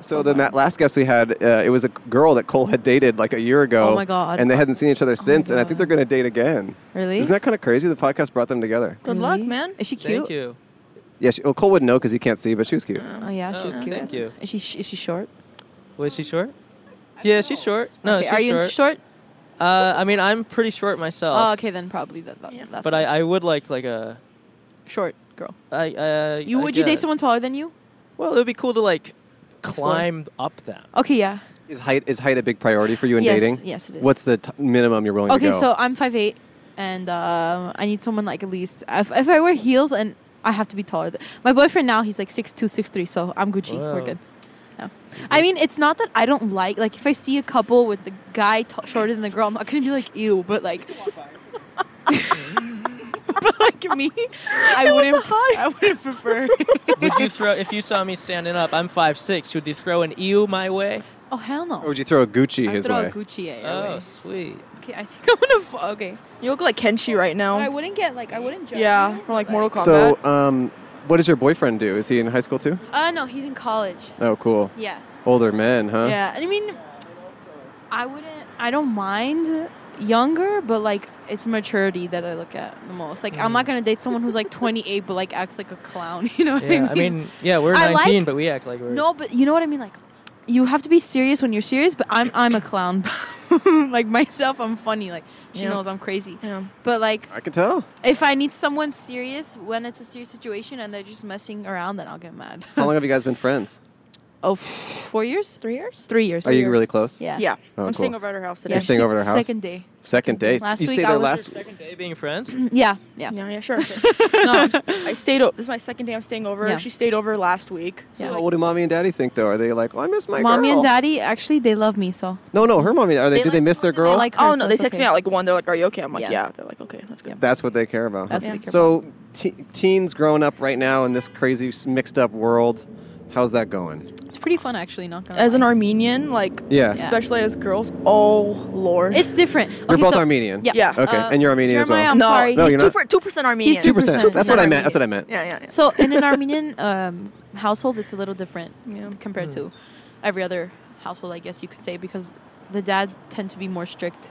B: So the ma- last guest we had, uh, it was a girl that Cole had dated like a year ago.
I: Oh my God. Oh
B: And they hadn't seen each other since, and I think they're going to date again.
I: Really?
B: Isn't that kind of crazy? The podcast brought them together.
I: Good luck,
J: Mm-hmm.
I: man. Is she cute?
A: Thank you.
B: Yeah, she, well, Cole would know because he can't see, but she was cute.
I: Oh yeah, she's cute.
A: Thank you.
I: Is she is she short?
A: Was she short? Yeah, she's short. No,
I: Okay,
A: she's
I: are you
A: short.
I: into short?
A: Uh, I mean, I'm pretty short myself.
I: Oh, okay, then probably that. that That's
A: but I, I would like like a.
I: short girl.
A: I, uh,
I: You
A: I
I: would you date
A: guess.
I: someone taller than you?
A: Well, it would be cool to like climb up them.
I: Okay, yeah.
B: Is height is height a big priority for you in
I: Yes,
B: dating?
I: yes, it is.
B: What's the t- minimum you're willing
I: okay,
B: to go?
I: so I'm five eight, and um, I need someone like at least if, if I wear heels and I have to be taller. Th- My boyfriend now he's like six two, six three, so I'm Gucci. We're
A: Wow.
I: good. Yeah. I mean, it's not that I don't like like if I see a couple with the guy t- shorter than the girl, I'm not gonna be like ew, but like. but like me, I wouldn't. I wouldn't prefer.
A: would you throw if you saw me standing up? I'm five six. Would you throw an ew my way?
I: oh hell no!
B: or would you throw a Gucci
I: I
B: his
I: throw
B: way?
I: a Gucci at your
A: Oh,
I: way.
A: sweet.
I: Okay, I think I'm gonna. Fall. Okay,
J: You look like Kenshi right now.
I: I wouldn't get like I wouldn't judge.
J: yeah,
I: you,
J: from like
I: but,
J: Mortal Kombat.
B: So, um, what does your boyfriend do? Is he in high school too?
I: Uh no, he's in college.
B: Oh, cool.
I: Yeah.
B: Older men, huh?
I: Yeah, and I mean, I wouldn't. I don't mind younger, but like it's maturity that I look at the most. Like I'm not gonna date someone who's like 28 but like acts like a clown. You know what
A: Yeah,
I: I
A: I
I: mean?
A: mean, yeah, we're
I: I
A: 19,
I: like-
A: but we act like we're.
I: No, but you know what I mean. Like you have to be serious when you're serious. But I'm I'm a clown. like myself, I'm funny. Like she
J: Yeah.
I: knows I'm crazy.
J: yeah.
I: But like
B: I can tell.
I: if I need someone serious when it's a serious situation and they're just messing around, then I'll get mad.
B: How long have you guys been friends?
I: oh, f- four years?
J: Three years?
I: Three years.
B: Are you really close?
I: Yeah.
J: Yeah.
B: Oh,
J: I'm
B: cool.
J: staying over at her house today.
B: You're staying
I: se-
B: over at her house?
I: Second day.
B: Second date.
I: Last
B: you
I: week
B: stayed
I: I
B: there
I: was
B: last
I: her
B: week.
A: Second day being friends.
I: Mm, Yeah, yeah.
J: Yeah, yeah, sure. sure. no, I'm just- I stayed. O- this is my second day I'm staying over.
I: Yeah.
J: She stayed over last week. So
I: Yeah.
B: Oh,
J: like,
B: what do mommy and daddy think though? Are they like, oh, I miss my
I: Mommy
B: girl?
I: and daddy actually they love me so.
B: No, no, her mommy. Are they?
I: They
B: do they
I: like-
B: miss their girl?
I: They like her,
J: oh
I: so
J: no, they
I: it's
J: text
I: okay.
J: me out like one. They're like, "Are you okay?" I'm like,
I: Yeah.
J: "Yeah." They're like, "Okay, that's good."
B: That's what they care about. huh?
I: That's what they care
B: so, te- teens growing up right now in this crazy s- mixed up world, how's that going?
I: It's pretty fun actually. Not gonna
J: As an
I: lie.
J: Armenian, like
B: Yeah.
I: Yeah.
J: especially as girls, oh lord.
I: it's different.
B: We're
I: Okay,
B: both
I: so-
B: Armenian.
I: Yeah.
J: Yeah.
B: Okay,
I: Uh,
B: and you're Armenian as
I: Jeremiah,
B: well.
I: I'm
J: no,
I: sorry.
B: No,
J: he's
B: you're
J: two
B: not.
J: per- two percent Armenian.
I: He's
B: Two
I: 2%.
B: percent. That's what I meant. That's what I meant.
J: Yeah, yeah, yeah.
I: So in an Armenian um, household, it's a little different
J: Yeah.
I: compared
J: Mm.
I: to every other household, I guess you could say, because the dads tend to be more strict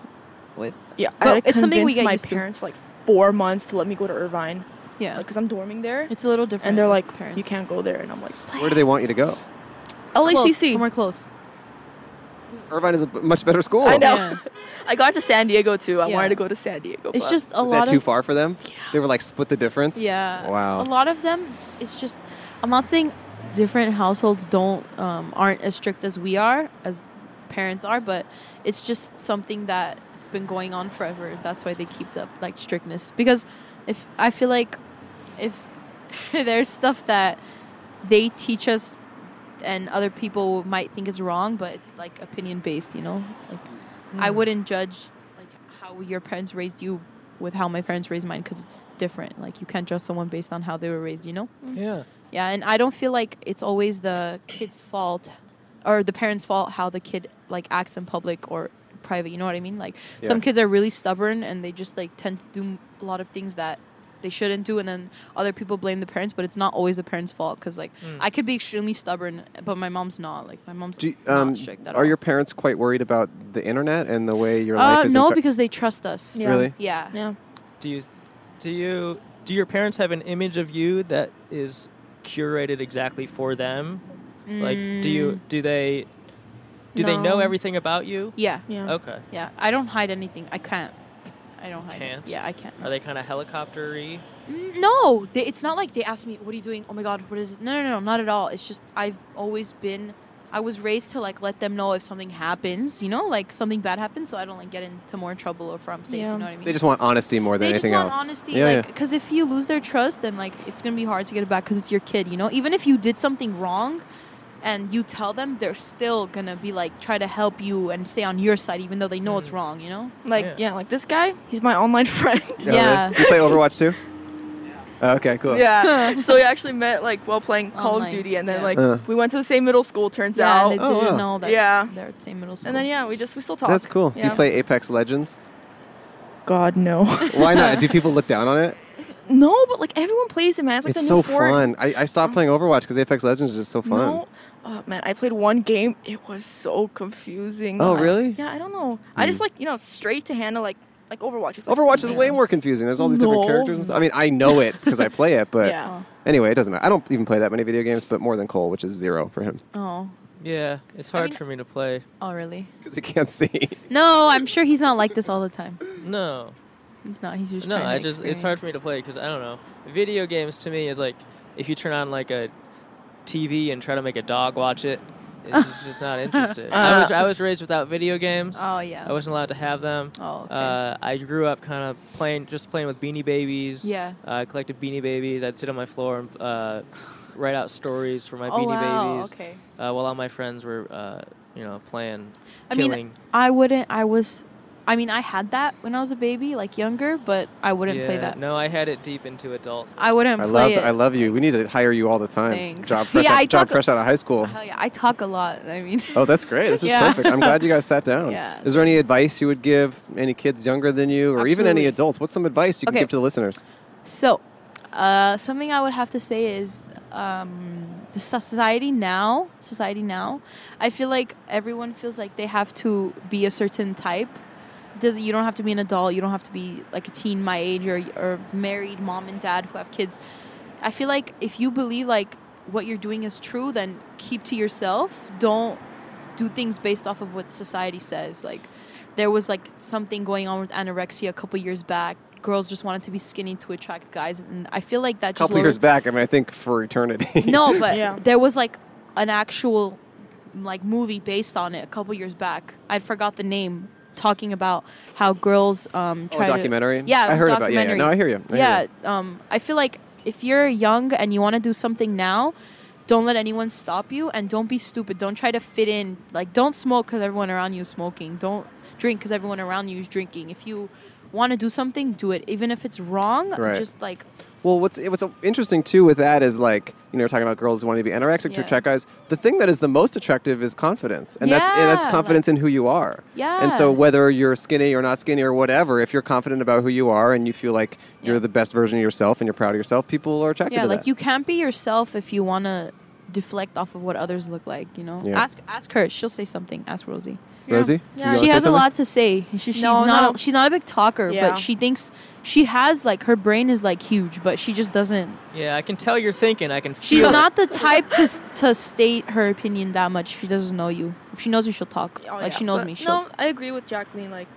I: with.
J: Yeah, I
I: But
J: had to
I: it's something we
J: convince
I: get
J: my
I: used to.
J: parents for like four months to let me go to Irvine,
I: Yeah,
J: like because I'm dorming there,
I: it's a little different.
J: and they're
I: with
J: like,
I: parents.
J: "You can't go there," and I'm like,
B: Where do they want you to go?
I: Close,
J: "LACC."
I: somewhere close.
B: Irvine is a b- much better school.
J: I know.
I: Yeah.
J: I got to San Diego too. I
I: Yeah.
J: wanted to go to San Diego.
I: It's
J: but-
I: just a
B: Is
I: lot
B: that too
I: of
B: far for them? They were like split the difference.
I: Yeah.
B: Wow.
I: A lot of them, it's just, I'm not saying different households don't um, aren't as strict as we are, as parents are, but it's just something that it's been going on forever. That's why they keep up like strictness because if I feel like if there's stuff that they teach us and other people might think is wrong, but it's like opinion based, you know. Like I
B: Mm.
I: wouldn't judge like how your parents raised you with how my parents raised mine because it's different. Like you can't judge someone based on how they were raised, you know.
A: Yeah.
I: Yeah, and I don't feel like it's always the kid's fault or the parents' fault how the kid like acts in public or private. You know what I mean? Like some
B: Yeah.
I: kids are really stubborn and they just like tend to do a lot of things that they shouldn't do, and then other people blame the parents, but it's not always the parents' fault because like I could be extremely stubborn, but my mom's not. Like my mom's
B: Mm. Do you-
I: not
B: um,
I: strict at
B: are
I: all.
B: your parents quite worried about the internet and the way your
I: uh,
B: life is?
I: no,
B: infect-
I: because they trust us.
J: Yeah.
B: really.
I: Yeah.
J: yeah.
A: Do you, do you, do your parents have an image of you that is curated exactly for them? Like, do you, do they, do they know
J: No.
A: everything about you?
I: Mm. Yeah.
J: Yeah.
A: Okay.
I: Yeah. I don't hide anything. I can't. I don't hide.
A: Can't?
I: Yeah, I can't.
A: Are they kind of helicoptery?
I: Mm, No, they, it's not like they asked me, "What are you doing?" Oh my God, what is this? No, no, no, not at all. It's just I've always been, I was raised to like let them know if something happens, you know, like something bad happens, so I don't like get into more trouble or if I'm safe.
J: Yeah.
I: You know what I mean?
B: They just want honesty more than
I: They just
B: anything
I: want
B: else.
I: honesty,
B: yeah,
I: like, because if you lose their trust, then like it's gonna be hard to get it back because it's your kid, you know. Even if you did something wrong, and you tell them, they're still gonna be like try to help you and stay on your side, even though they know it's
A: Mm.
I: wrong. You know,
J: Like yeah. like this guy, he's my online friend.
I: Yeah. Yeah.
B: You play Overwatch too? Oh, okay, cool.
J: Yeah. so we actually met like while playing Call
I: Online,
J: of Duty, and then
I: yeah.
J: like
B: Uh.
J: we went to the same middle school. Turns
I: Yeah,
J: out,
I: and they Oh, didn't wow. know that
J: Yeah,
I: they're at the same middle school.
J: and then yeah, we just we still talk.
B: That's cool. Do
J: Yeah.
B: you play Apex Legends?
J: God no.
B: Why not? Do people look down on it?
J: No, but like everyone plays it, man. It's like
B: it's
J: the
B: so
J: new Fort-
B: fun. I, I stopped playing Overwatch because Apex Legends is just so fun.
J: No, oh man, I played one game. It was so confusing.
B: Oh,
J: I-
B: really? Hmm.
J: yeah, I don't know. I just like you know straight to handle like like Overwatch. It's like-
B: Overwatch is way more confusing. There's all these different
J: No.
B: characters. And stuff. I mean, I know it because I play it, but
J: Yeah.
B: anyway, it doesn't matter. I don't even play that many video games, but more than Cole, which is zero for him
I: Oh,
A: Yeah, it's
I: I
A: hard
I: mean-
A: for me to play.
I: oh really?
B: because he can't see.
I: No, I'm sure he's not like this all the time.
A: No,
I: He's not. He's just
A: no,
I: Trying
A: I
I: to
A: just it's hard for me to play because I don't know. Video games to me is like if you turn on like a TV and try to make a dog watch it, it's just not interested. I was I was raised without video games.
I: Uh, Oh yeah.
A: I wasn't allowed to have them.
I: Oh, okay.
A: Uh, I grew up kind of playing, just playing with Beanie Babies.
I: Yeah.
A: Uh, I collected Beanie Babies. I'd sit on my floor and uh, write out stories for my
I: oh
A: Beanie
I: wow.
A: Babies.
I: Okay.
A: Uh, while all my friends were, uh, you know, playing,
I: I mean,
A: killing.
I: I wouldn't. I was. I mean, I had that when I was a baby, like younger, but I wouldn't play
A: Yeah,
I: that.
A: No, I had it deep into adult.
I: I wouldn't
B: I
I: play
B: love,
I: it.
B: I love you. We need to hire you all the time.
I: Thanks.
B: Job fresh,
I: Yeah, I
B: out, job
I: talk-
B: fresh out of high school.
I: Hell yeah, I talk a lot. I mean,
B: Oh, that's great. This is
I: Yeah.
B: perfect. I'm glad you guys sat down.
I: Yeah.
B: Is there any advice you would give any kids younger than you, or even any
I: Absolutely.
B: adults? What's some advice you
I: Okay.
B: can give to the listeners?
I: so uh, something I would have to say is um, the society now. Society now, I feel like everyone feels like they have to be a certain type. Does you don't have to be an adult. You don't have to be like a teen my age or or married mom and dad who have kids. I feel like if you believe like what you're doing is true, then keep to yourself. Don't do things based off of what society says. Like there was like something going on with anorexia a couple years back. Girls just wanted to be skinny to attract guys, and I feel like that
B: A
I: just
B: couple
I: lowered-
B: years back, I mean, I think for eternity. Oh,
I: No, but
J: Yeah.
I: there was like an actual like movie based on it a couple years back. I forgot the name. Talking about how girls um,
B: Oh,
I: try to-
B: documentary?
I: yeah, it
B: I
I: was
B: heard about
I: documentary.
B: yeah, yeah. No, I hear you. I hear
I: yeah,
B: you.
I: um, I feel like if you're young and you want to do something now, don't let anyone stop you, and don't be stupid. Don't try to fit in. Like, don't smoke because everyone around you is smoking. Don't drink because everyone around you is drinking. If you want to do something, do it, even if it's wrong.
B: Right.
I: Just like
B: Well, what's what's interesting too with that is like you know we're talking about girls wanting to be anorexic
I: Yeah.
B: to attract guys. The thing that is the most attractive is confidence, and that's and that's
I: Yeah,
B: confidence in who you are. And so
I: Yeah.
B: whether you're skinny or not skinny or whatever, if you're confident about who you are and you feel like you're
I: Yeah.
B: the best version of yourself and you're proud of yourself, people are attracted
I: yeah,
B: to
I: like
B: that.
I: you can't be yourself if you want to deflect off of what others look like. You know,
B: Yeah.
I: ask ask her. She'll say something. Ask Rosie.
J: Yeah.
B: Rosie, you
J: Yeah.
B: wanna
I: she
B: say
I: has a
B: something?
I: lot to say. She, she's
J: No,
I: not
J: no.
I: A, she's not a big talker,
J: Yeah.
I: but she thinks she has like her brain is like huge, but she just doesn't.
A: Yeah, I can tell you're thinking. I can.
I: She's
A: feel it.
I: not the type to s- to state her opinion that much. If she doesn't know you, if she knows you, she'll talk.
J: Oh,
I: like
J: yeah.
I: she knows
J: But
I: me. She'll,
J: No, I agree with Jacqueline. Like,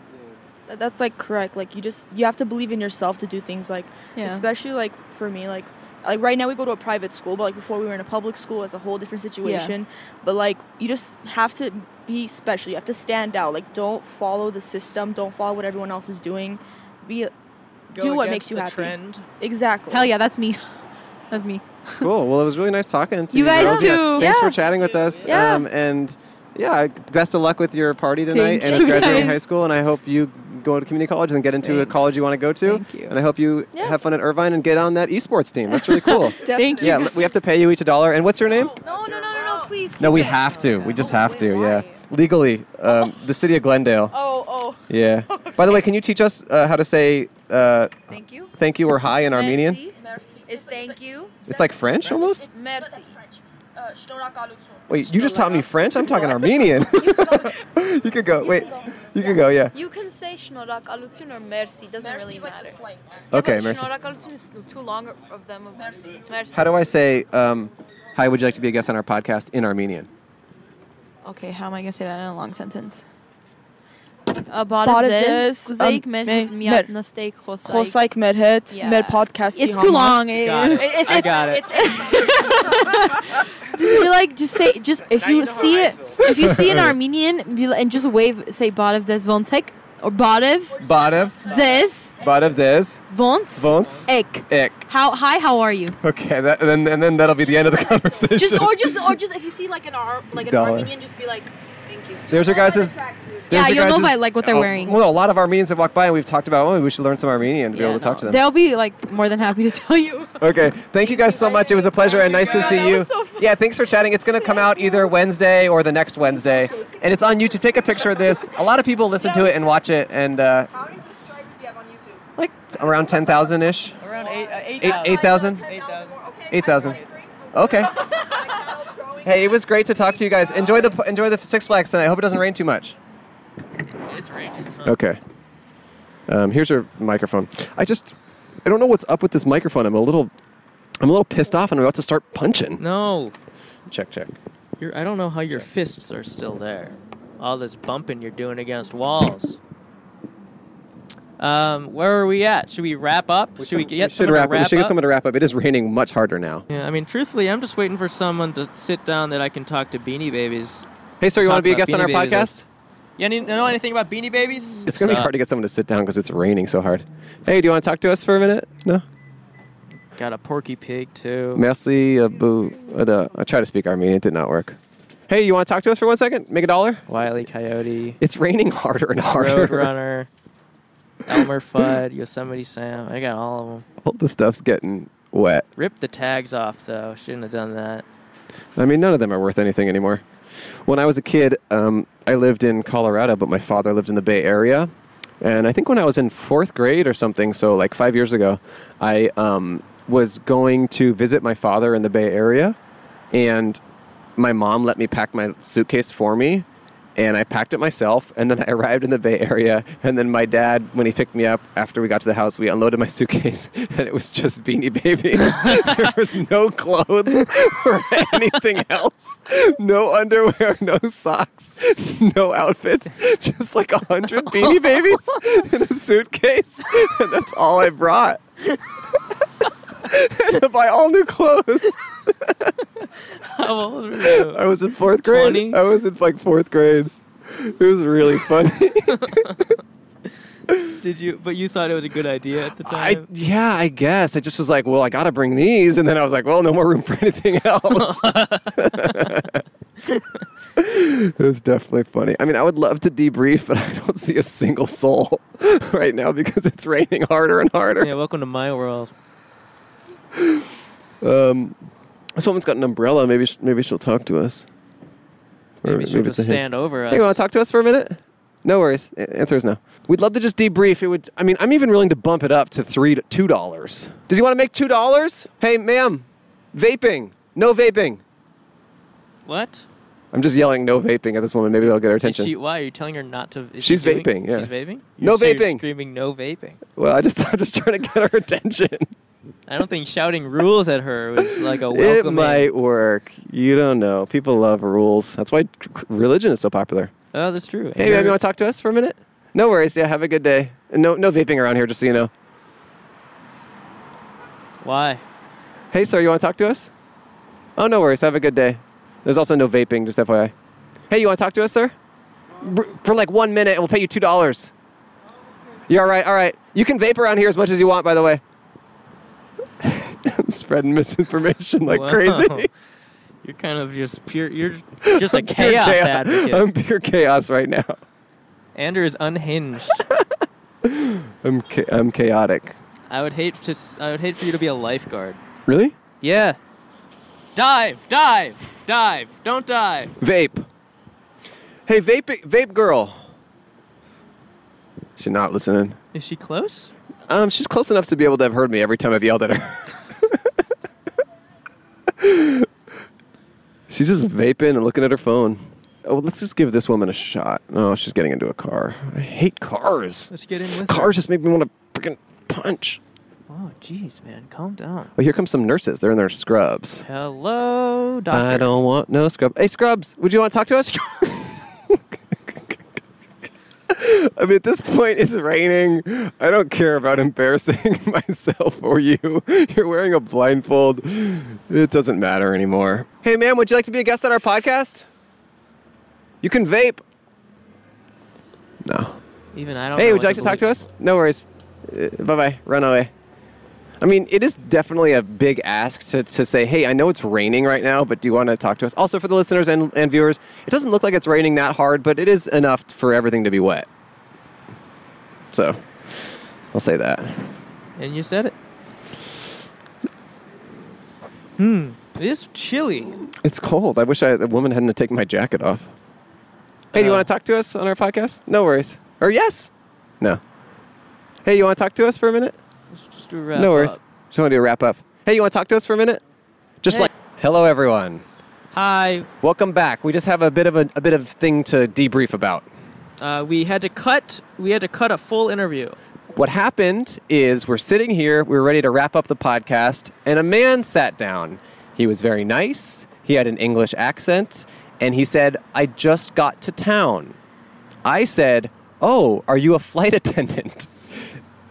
J: tha- that's like correct. Like, you just you have to believe in yourself to do things. Like,
I: Yeah.
J: especially like for me, like like right now we go to a private school, but like before we were in a public school, it's a whole different situation. But like, you just have to be special. You have to stand out. Like, don't follow the system. Don't follow what everyone else is doing. Be
A: Go
J: do what
A: against
J: makes you
A: the
J: happy.
A: Trend.
J: exactly.
I: Hell yeah, that's me. that's me.
B: cool. Well, it was really nice talking to you.
I: You guys
B: Rosie.
I: too.
B: Thanks
J: Yeah.
B: for chatting with us.
J: Yeah.
B: Um, and yeah, best of luck with your party tonight
I: Thank
B: and
I: you,
B: with graduating
I: guys.
B: high school. And I hope you go to community college and get into a
I: Thanks.
B: college you want to go to.
I: Thank you.
B: And I hope you
J: Yeah.
B: have fun at Irvine and get on that esports team. That's really cool.
I: Thank you.
B: yeah, l- we have to pay you each a dollar. And what's your name?
I: No, no, no, no, no, please.
B: Oh, No, we have to. We just have to. Yeah, legally, um, the city of Glendale.
I: Oh, oh.
B: Yeah. By the way, can you teach us uh, how to say uh,
I: Thank you.
B: thank you or hi in Armenian?
I: Is thank you.
B: It's like French almost.
I: Merci. Uh,
B: Wait, you just taught me French. I'm talking Armenian. you could go. Wait, you could go. Yeah.
I: You can say շնորհակալություն or merci, doesn't really matter.
B: Okay,
I: but
B: merci.
I: Շնորհակալություն is too long of them. of- Merci.
B: How do I say, um, hi, would you like to be a guest on our podcast in Armenian?
I: Okay, how am I gonna say that in a long sentence?
J: Բարեձեզ,
B: um,
I: Գուզեիք
J: ըմ,
I: մեր
J: մեր-
I: միատ
J: մեր-
I: նստեիք խոսայք։
J: Խոսայք մեր հետ,
I: Yeah.
J: մեր podcast-ի
I: It's too
J: համար։
I: long.
A: Got it.
I: eh.
J: It's, it's,
A: I got it.
J: it's, it's,
I: Just be like, just say, just if you see it, if you see an Armenian, be like, and just wave, say Barav Des Vontek Or Badev.
B: Badev.
I: Zes.
B: Badev des.
I: Vons.
B: Vons.
I: Ek.
B: Ek.
I: How hi? How are you?
B: Okay, that, and, then, and then that'll be the end of the conversation.
J: Just or just or just if you see like an Ar- like an
B: Dollar.
J: Armenian, just be like, thank you.
B: There's your guys'
I: Yeah,
B: There's your
I: you'll know
B: guys'
I: by like what they're
B: Oh,
I: wearing.
B: Well, a lot of Armenians have walked by, and we've talked about. Oh, we should learn some Armenian to be
I: Yeah,
B: able to talk to
I: no.
B: them.
I: They'll be like more than happy to tell you.
B: Okay, thank you guys so much. It was a pleasure and nice to
I: God,
B: see
I: that
B: you.
I: was so fun.
B: Yeah, thanks for chatting. It's going to come out either Wednesday or the next Wednesday, and it's on YouTube. Take a picture of this. A lot of people listen to it and watch it, and uh,
J: How many subscribers do you have on YouTube?
B: like around ten thousand ish.
A: Around eight, uh, eight,
B: Eight- eight thousand?
A: Eight thousand.
B: Eight thousand.
J: Oh,
B: Okay. Hey, it was great to talk to you guys. Enjoy the enjoy the Six Flags tonight. I hope it doesn't rain too much.
L: It's raining.
B: Okay. Um, here's your microphone. I just I don't know what's up with this microphone. I'm a little I'm a little pissed off, and I'm about to start punching.
A: No.
B: Check check.
A: You're, I don't know how your fists are still there. All this bumping you're doing against walls. Um, where are we at? Should we wrap up? should we get
B: should
A: someone
B: wrap,
A: to wrap
B: we should
A: up?
B: get someone to wrap up. It is raining much harder now.
A: Yeah, I mean, truthfully, I'm just waiting for someone to sit down that I can talk to Beanie Babies.
B: Hey, sir, you
A: Talk
B: wanna be a
A: about
B: guest on
A: Beanie
B: our
A: Babies.
B: podcast?
A: You any- know anything about Beanie Babies?
B: It's gonna be
A: So-
B: hard to get someone to sit down because it's raining so hard. Hey, do you want to talk to us for a minute? No.
A: Got a Porky Pig too.
B: Merci, uh, boo. uh, the- I tried to speak Armenian, it did not work. Hey, you want to talk to us for one second? Make a dollar?
A: Wile E. Coyote.
B: It's raining harder and harder.
A: Roadrunner. Elmer Fudd, Yosemite Sam. I got all of them.
B: All the stuff's getting wet.
A: Ripped the tags off though. Shouldn't have done that.
B: I mean, none of them are worth anything anymore. When I was a kid, um, I lived in Colorado, but my father lived in the Bay Area. And I think when I was in fourth grade or something, so like five years ago, I um, was going to visit my father in the Bay Area. And my mom let me pack my suitcase for me. And I packed it myself. And then I arrived in the Bay Area. And then my dad, when he picked me up after we got to the house, we unloaded my suitcase. And it was just Beanie Babies. there was no clothes or anything else. No underwear, no socks, no outfits. Just like a hundred Beanie Babies in a suitcase. And that's all I brought. and to buy all new clothes.
A: How old were you?
B: I was in fourth grade.
A: 20?
B: I was in like fourth grade. It was really funny.
A: Did you? But you thought it was a good idea at the
B: I,
A: time.
B: yeah, I guess. I just was like, well, I got to bring these. And then I was like, well, no more room for anything else. it was definitely funny. I mean, I would love to debrief, but I don't see a single soul right now because it's raining harder and harder.
A: yeah. Welcome to my world.
B: Um, this woman's got an umbrella. Maybe, sh- maybe she'll talk to us. Or
A: Maybe she'll
B: it's
A: just
B: a hint.
A: stand over us.
B: Hey, you want to talk to us for a minute? No worries. A- Answer is no. We'd love to just debrief. It would. I mean, I'm even willing to bump it up to three to two dollars. Does he want to make two dollars? Hey, ma'am, vaping. No vaping.
A: What?
B: I'm just yelling no vaping at this woman. Maybe that'll get her
A: Is
B: attention.
A: she, why are you telling her not to? is
B: She's
A: she doing-
B: vaping, yeah.
A: She's vaping.
B: No
A: so
B: vaping.
A: You're screaming no vaping.
B: well, I just I'm just trying to get her attention.
A: I don't think shouting rules at her was like a
B: it
A: welcoming.
B: might work. You don't know. People love rules. That's why religion is so popular.
A: Oh, that's true.
B: Hey, ma'am, you want to talk to us for a minute? No worries. Yeah, have a good day. And no, no vaping around here. Just so you know.
A: Why?
B: Hey, sir, you want to talk to us? Oh, no worries. Have a good day. There's also no vaping, just FYI. Hey, you want to talk to us, sir? Br- For like one minute, and we'll pay you $2. You're all right, all right. You can vape around here as much as you want, by the way. I'm spreading misinformation like
A: Wow.
B: crazy.
A: You're kind of just pure. You're just a
B: I'm pure Um,
A: chaos,
B: chao-
A: advocate.
B: I'm pure chaos right now.
A: Andrew is unhinged.
B: I'm, cha- I'm chaotic.
A: I would hate to. s- I would hate for you to be a lifeguard.
B: Really?
A: Yeah. Dive, dive, dive. Don't dive.
B: Vape. Hey, vape, vape girl. She's not listening.
A: Is she close?
B: Um, she's close enough to be able to have heard me every time I've yelled at her. she's just vaping and looking at her phone. Oh, let's just give this woman a shot. Oh, she's getting into a car. I hate cars.
A: Let's get in with her.
B: Cars just make me want to freaking punch.
A: Oh, jeez, man, calm down.
B: Oh, here come some nurses. They're in their scrubs.
A: Hello, doctor.
B: I don't want no scrub. Hey, scrubs, would you want to talk to us? I mean, at this point, it's raining. I don't care about embarrassing myself or you. You're wearing a blindfold. It doesn't matter anymore. Hey, ma'am, would you like to be a guest on our podcast? You can vape. No.
A: Even I don't.
B: Hey,
A: know
B: would you
A: what
B: like to talk to us? No worries. Uh, bye bye. Run away. I mean, it is definitely a big ask to, to say, hey, I know it's raining right now, but do you want to talk to us? Also, for the listeners and, and viewers, it doesn't look like it's raining that hard, but it is enough for everything to be wet. So, I'll say that.
A: believe. And you said it. Hmm. This chilly.
B: It's cold. I wish I, the woman hadn't taken my jacket off. Hey, do you
A: Uh.
B: want to talk to us on our podcast? No worries. Or yes? No. Hey, you want to talk to us for a minute?
A: Just do a wrap
B: no worries.
A: up.
B: Just want to do a wrap up. Hey, you want to talk to us for a minute? Just like hello, everyone.
A: Hi.
B: Welcome back. We just have a bit of a, a bit of thing to debrief about.
A: Uh, we had to cut. We had to cut a full interview.
B: What happened is we're sitting here, we were ready to wrap up the podcast, and a man sat down. He was very nice, he had an English accent, and he said, I just got to town. I said, Oh, are you a flight attendant?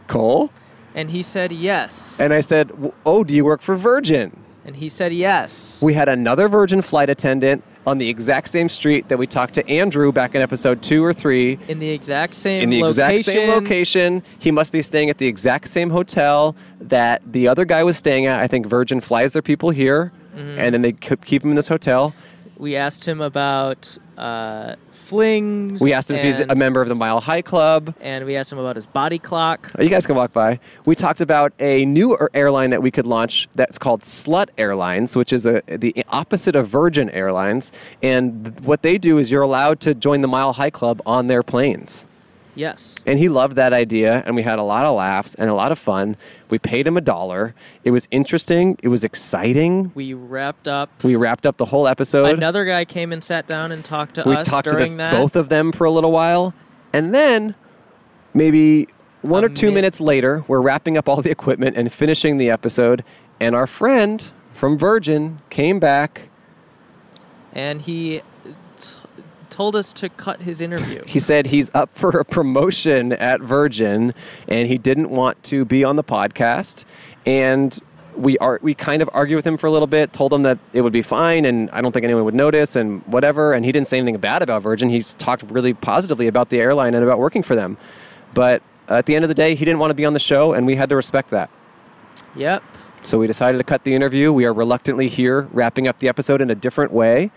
B: Cole?
A: And he said yes.
B: And I said, "W- Oh, do you work for Virgin?
A: And he said yes.
B: We had another Virgin flight attendant on the exact same street that we talked to Andrew back in episode two or three
A: In the exact same
B: in the
A: location.
B: exact same location. He must be staying at the exact same hotel that the other guy was staying at. I think Virgin flies their people here,
A: Mhm.
B: and then they keep keep him in this hotel.
A: We asked him about uh, flings.
B: We asked him if he's
A: and-
B: a member of the Mile High Club.
A: and we asked him about his body clock.
B: Oh, You guys can walk by. We talked about a new air- airline that we could launch that's called Slut Airlines, which is a, the opposite of Virgin Airlines. And th- what they do is you're allowed to join the Mile High Club on their planes.
A: Yes.
B: And he loved that idea, and we had a lot of laughs and a lot of fun. We paid him a dollar. It was interesting. It was exciting.
A: We wrapped up.
B: We wrapped up the whole episode.
A: Another guy came and sat down and talked to
B: we
A: us
B: talked to the,
A: during that.
B: both of them for a little while, and then maybe one or two minutes later, we're wrapping up all the equipment and finishing the episode. And our friend from Virgin came back.
A: and he t- told us to cut his interview.
B: He said he's up for a promotion at Virgin and he didn't want to be on the podcast. And we are we kind of argued with him for a little bit, told him that it would be fine and I don't think anyone would notice and whatever. And he didn't say anything bad about Virgin. He's talked really positively about the airline and about working for them. But at the end of the day, he didn't want to be on the show and we had to respect that.
A: Yep.
B: So we decided to cut the interview. We are reluctantly here, wrapping up the episode in a different way.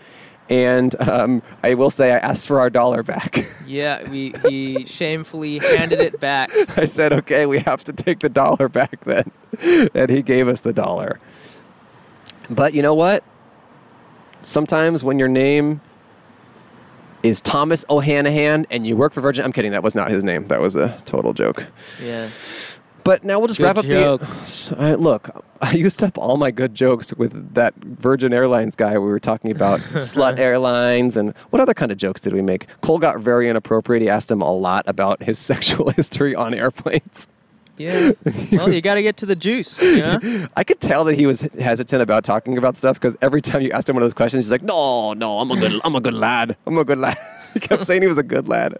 B: And um, I will say, I asked for our dollar back.
A: Yeah, we he shamefully handed it back.
B: I said, okay, we have to take the dollar back then. And he gave us the dollar. But you know what? Sometimes when your name is Thomas O'Hanahan and you work for Virgin, I'm kidding, that was not his name. That was a total joke.
A: Yeah.
B: But now we'll just
A: Good
B: wrap up
A: joke.
B: the. I, look, I used up all my good jokes with that Virgin Airlines guy we were talking about, slut airlines, and what other kind of jokes did we make? Cole got very inappropriate. He asked him a lot about his sexual history on airplanes.
A: Yeah. well, you got to get to the juice, you know?
B: I could tell that he was hesitant about talking about stuff because every time you asked him one of those questions, he's like, "No, no, I'm a good, I'm a good lad. I'm a good lad." he kept saying he was a good lad.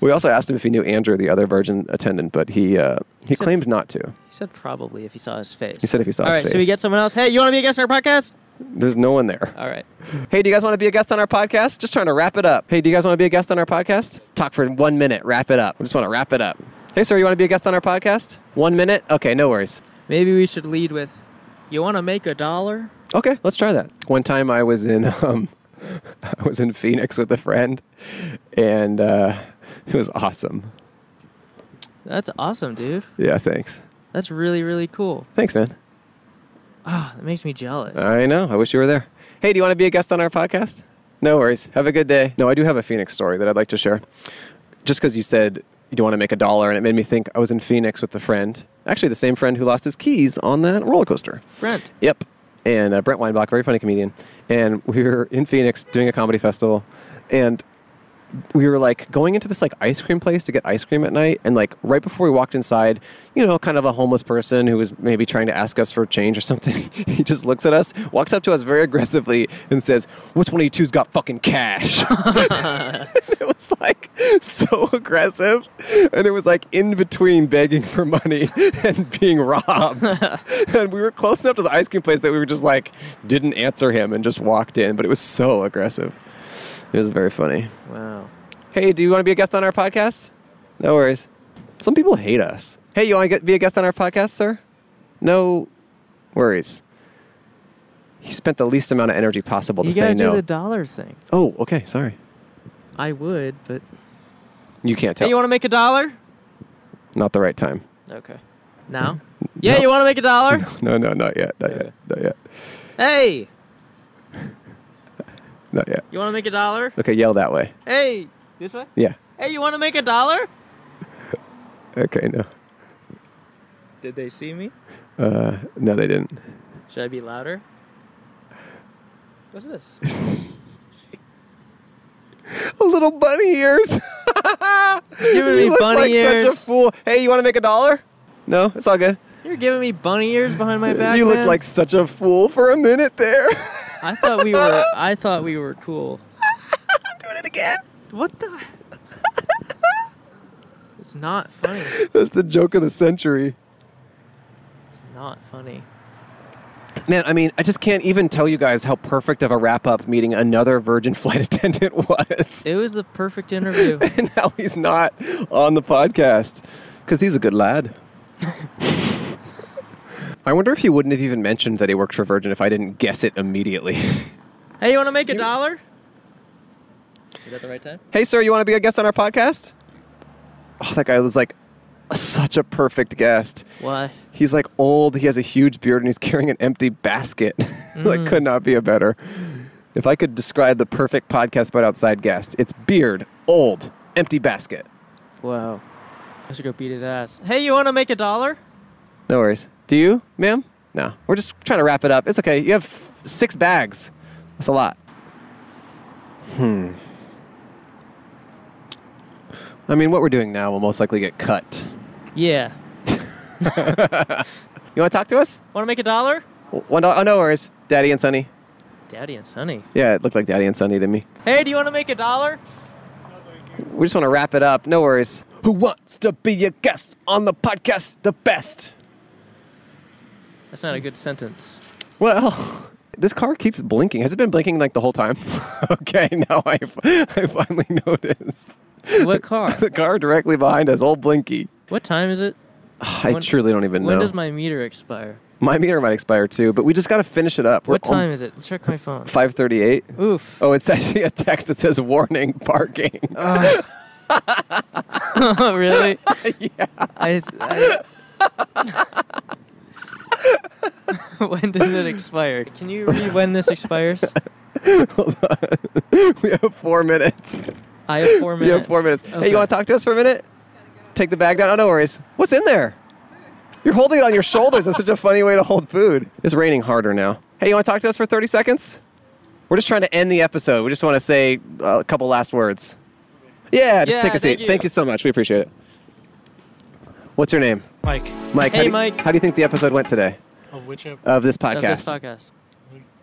B: We also asked him if he knew Andrew, the other Virgin attendant, but he uh, he claimed not to.
A: He said probably if he saw his face.
B: He said if he saw
A: All
B: his
A: right, so
B: face.
A: we get someone else. Hey, you want to be a guest on our podcast?
B: There's no one there.
A: All right.
B: Hey, do you guys want to be a guest on our podcast? Just trying to wrap it up. Hey, do you guys want to be a guest on our podcast? Talk for one minute. Wrap it up. I just want to wrap it up. Hey, sir, you want to be a guest on our podcast? One minute? Okay, no worries.
A: Maybe we should lead with you want to make a dollar?
B: Okay, let's try that. One time I was in um, I was in Phoenix with a friend, and uh, it was awesome.
A: That's awesome, dude.
B: Yeah, thanks.
A: That's really really cool.
B: Thanks, man.
A: Ah, that makes me jealous.
B: I know. I wish you were there. Hey, do you want to be a guest on our podcast? No worries. Have a good day. No, I do have a Phoenix story that I'd like to share. Just because you said you want to make a dollar, and it made me think I was in Phoenix with a friend, actually the same friend who lost his keys on that roller coaster.
A: Brent.
B: Yep. And uh, Brent Weinbach, very funny comedian. And we were in Phoenix doing a comedy festival, and we were like going into this like ice cream place to get ice cream at night and like right before we walked inside you know kind of a homeless person who was maybe trying to ask us for change or something he just looks at us walks up to us very aggressively and says which one of you two's got fucking cash it was like so aggressive and it was like in between begging for money and being robbed and we were close enough to the ice cream place that we were just like didn't answer him and just walked in but it was so aggressive it was very funny
A: Wow.
B: Hey, do you want to be a guest on our podcast? No worries. Some people hate us. Hey, you want to be a guest on our podcast, sir? No worries. He spent the least amount of energy possible
A: you
B: to say
A: gotta do
B: no.
A: the dollar thing.
B: oh, okay. Sorry.
A: I would, but.
B: You can't
A: Hey,
B: tell.
A: you want to make a dollar?
B: Not the right time.
A: Okay. Now? Yeah, you want to make a dollar?
B: No, no, not yet. Not yet. Not yet.
A: hey,
B: Not yet.
A: you want to make a dollar?
B: Okay, yell that way.
A: Hey, this way?
B: Yeah.
A: Hey, you want to make a dollar?
B: Okay, no.
A: Did they see me?
B: Uh, no, they didn't.
A: Should I be louder? What's this?
B: A little bunny ears.
A: giving
B: You
A: me
B: look
A: bunny
B: like
A: ears.
B: such a fool. Hey, you want to make a dollar? No, it's all good.
A: You're giving me bunny ears behind my back.
B: you look
A: man.
B: like such a fool for a minute there.
A: I thought we were. I thought we were cool.
B: Doing it again.
A: What the? It's not funny.
B: That's the joke of the century.
A: It's not funny.
B: Man, I mean, I just can't even tell you guys how perfect of a wrap up meeting another Virgin flight attendant was.
A: It was the perfect interview.
B: and now he's not on the podcast because he's a good lad. I wonder if he wouldn't have even mentioned that he worked for Virgin if I didn't guess it immediately.
A: Hey, you want to make a dollar? Is that the right time?
B: hey, sir, you want to be a guest on our podcast? Oh, that guy was like such a perfect guest.
A: Why?
B: He's like old, he has a huge beard, and he's carrying an empty basket. like,
A: Mm.
B: could not be a better. If I could describe the perfect podcast but outside guest, it's beard, old, empty basket.
A: Wow. I should go beat his ass. Hey, you want to make a dollar?
B: No worries. Do you, ma'am? No. We're just trying to wrap it up. It's okay. You have f- six bags. That's a lot. Hmm. I mean, what we're doing now will most likely get cut.
A: Yeah.
B: you want to talk to us?
A: Want to make a dollar?
B: W- One dollar. Oh, no worries. Daddy and Sonny.
A: Daddy and Sonny.
B: Yeah, it looked like Daddy and Sonny to me.
A: Hey, do you want to make a dollar?
B: We just want to wrap it up. No worries. Who wants to be a guest on the podcast? The best.
A: That's not a good sentence.
B: Well, this car keeps blinking. Has it been blinking like the whole time? okay, now I, I finally noticed.
A: What car?
B: the car directly behind us, old Blinky.
A: What time is it?
B: I
A: When-
B: truly don't even
A: When
B: know.
A: does my meter expire?
B: my meter might expire too, but we just got to finish it up.
A: What time is it? Let's check my phone.
B: 5:38.
A: Oof.
B: Oh, it's actually a text that says "Warning, parking."
A: Oh, really?
B: yeah.
A: I, I- when does it expire? Can you read when this expires?
B: Hold on. we have four minutes.
A: I have four
B: You have
A: minutes.
B: four minutes. Hey,
A: Okay.
B: you want to talk to us for a minute? Take the bag down. Oh, no worries. What's in there? You're holding it on your shoulders. That's such a funny way to hold food. It's raining harder now. Hey, you want to talk to us for 30 seconds? We're just trying to end the episode. We just want to say uh, a couple last words. Yeah, just
A: Yeah,
B: take a
A: thank
B: seat.
A: you.
B: Thank you so much. We appreciate it. What's your name?
M: Mike.
B: Mike.
A: Hey,
B: how do you-
A: Mike.
B: How do you think the episode went today?
M: Of which ep-
B: Of this
A: Of this
B: podcast.
A: podcast.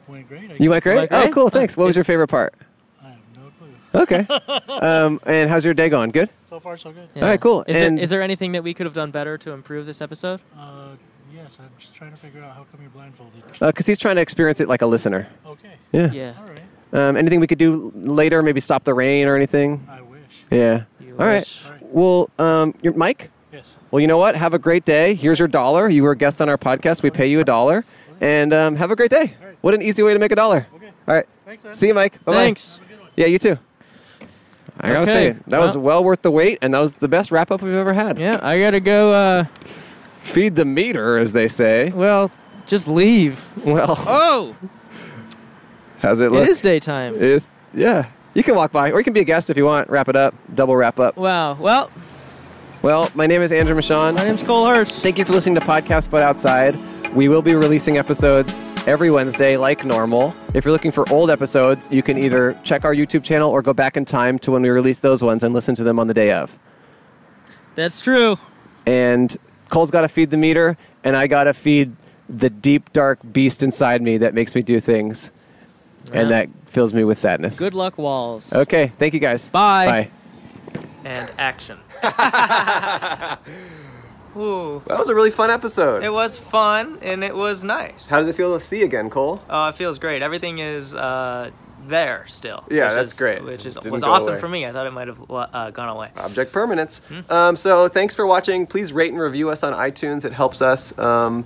M: Went great. I
B: you went great?
A: Mike,
B: Oh,
A: right?
B: cool. Thanks. What was your favorite part? I have no clue. Okay. um, and how's your day going? Good?
M: So far, so good.
B: All right, cool.
A: Is,
B: And-
A: there, is there anything that we could have done better to improve this episode?
M: Uh, yes, I'm just trying to figure out how come you're blindfolded.
B: because Uh, he's trying to experience it like a listener.
M: Okay.
B: Yeah.
A: Yeah.
M: All right.
B: Um, anything we could do l- later? Maybe stop the rain or anything.
M: I wish.
B: Yeah.
A: You
B: All right.
A: wish.
B: Well, um, your Mike.
M: Yes.
B: Well, you know what? Have a great day. Here's your dollar. You were a guest on our podcast. We pay you a dollar, and um, have a great day. What an easy way to make a dollar. Okay. All right.
M: Thanks, man.
B: See you, Mike. Bye.
A: Thanks.
B: Yeah, you too. I gotta
A: Okay.
B: say, that was well worth the wait, and that was the best wrap up we've ever had.
A: Yeah, I gotta go. Uh,
B: Feed the meter, as they say.
A: well, just leave.
B: Well,
A: Oh,
B: how's it look?
A: it is daytime.
B: It is- yeah. You can walk by, or you can be a guest if you want. Wrap it up. Double wrap up.
A: Wow. Well,
B: Well, my name is Andrew Michon.
A: my name's Cole Hurst.
B: Thank you for listening to Podcast But Outside. We will be releasing episodes every Wednesday, like normal. If you're looking for old episodes, you can either check our YouTube channel or go back in time to when we release those ones and listen to them on the day of.
A: That's true.
B: And Cole's got to feed the meter, and I got to feed the deep, dark beast inside me that makes me do things, and
A: Yeah.
B: that fills me with sadness.
A: Good luck, walls.
B: Okay, thank you guys.
A: Bye.
B: Bye.
A: And action. Ooh.
B: That was a really fun episode.
A: It was fun and it was nice.
B: How does it feel to see you again, Cole?
A: Oh, it feels great. Everything is uh, there still.
B: Yeah,
A: which
B: that's
A: is-
B: great.
A: Which is,
B: Didn't
A: was
B: go
A: awesome
B: away.
A: for me. I thought it might have uh, gone away.
B: Object permanence. Um, so thanks for watching. Please rate and review us on iTunes. It helps us um,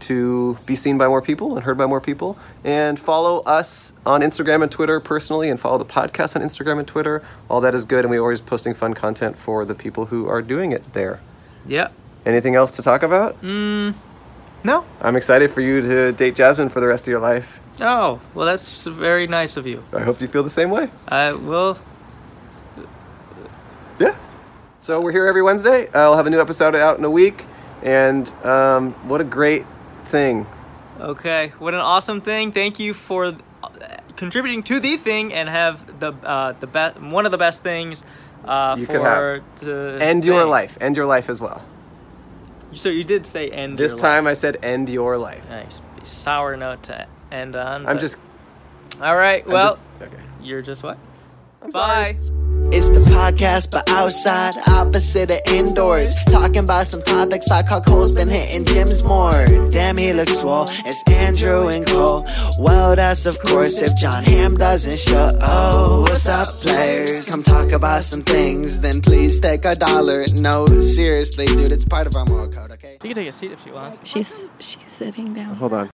B: to be seen by more people and heard by more people. And follow us on Instagram and Twitter personally, and follow the podcast on Instagram and Twitter. All that is good, and we're always posting fun content for the people who are doing it there.
A: Yeah.
B: Anything else to talk about?
A: Mm, no.
B: I'm excited for you to date Jasmine for the rest of your life.
A: Oh, well, that's very nice of you.
B: I hope you feel the same way.
A: I will.
B: So we're here every Wednesday. Uh, we'll have a new episode out in a week. And um, what a great thing.
A: Okay. What an awesome thing. Thank you for uh, contributing to the thing and have the uh, the best one of the best things uh,
B: You
A: for
B: could have.
A: to
B: End your
A: thing.
B: life. End your life as well.
A: So you did say end
B: this
A: your
B: time I said end your life.
A: Nice. Sour note to end on.
B: I'm
A: but-
B: just-
A: All right.
B: I'm
A: Well,
B: just-
A: you're just what?
C: Bye. It's the podcast, but outside, opposite of indoors. Talking about some topics I call Cole's been hitting gyms more. Damn, he looks swole. It's Andrew and Cole. Well, that's of course if John Ham doesn't show. Oh, what's up, players? Come talk about some things, then please take a dollar. No, seriously, dude, it's part of our moral code, okay?
A: You can take a seat if you want.
E: She's she's sitting down.
B: Hold on.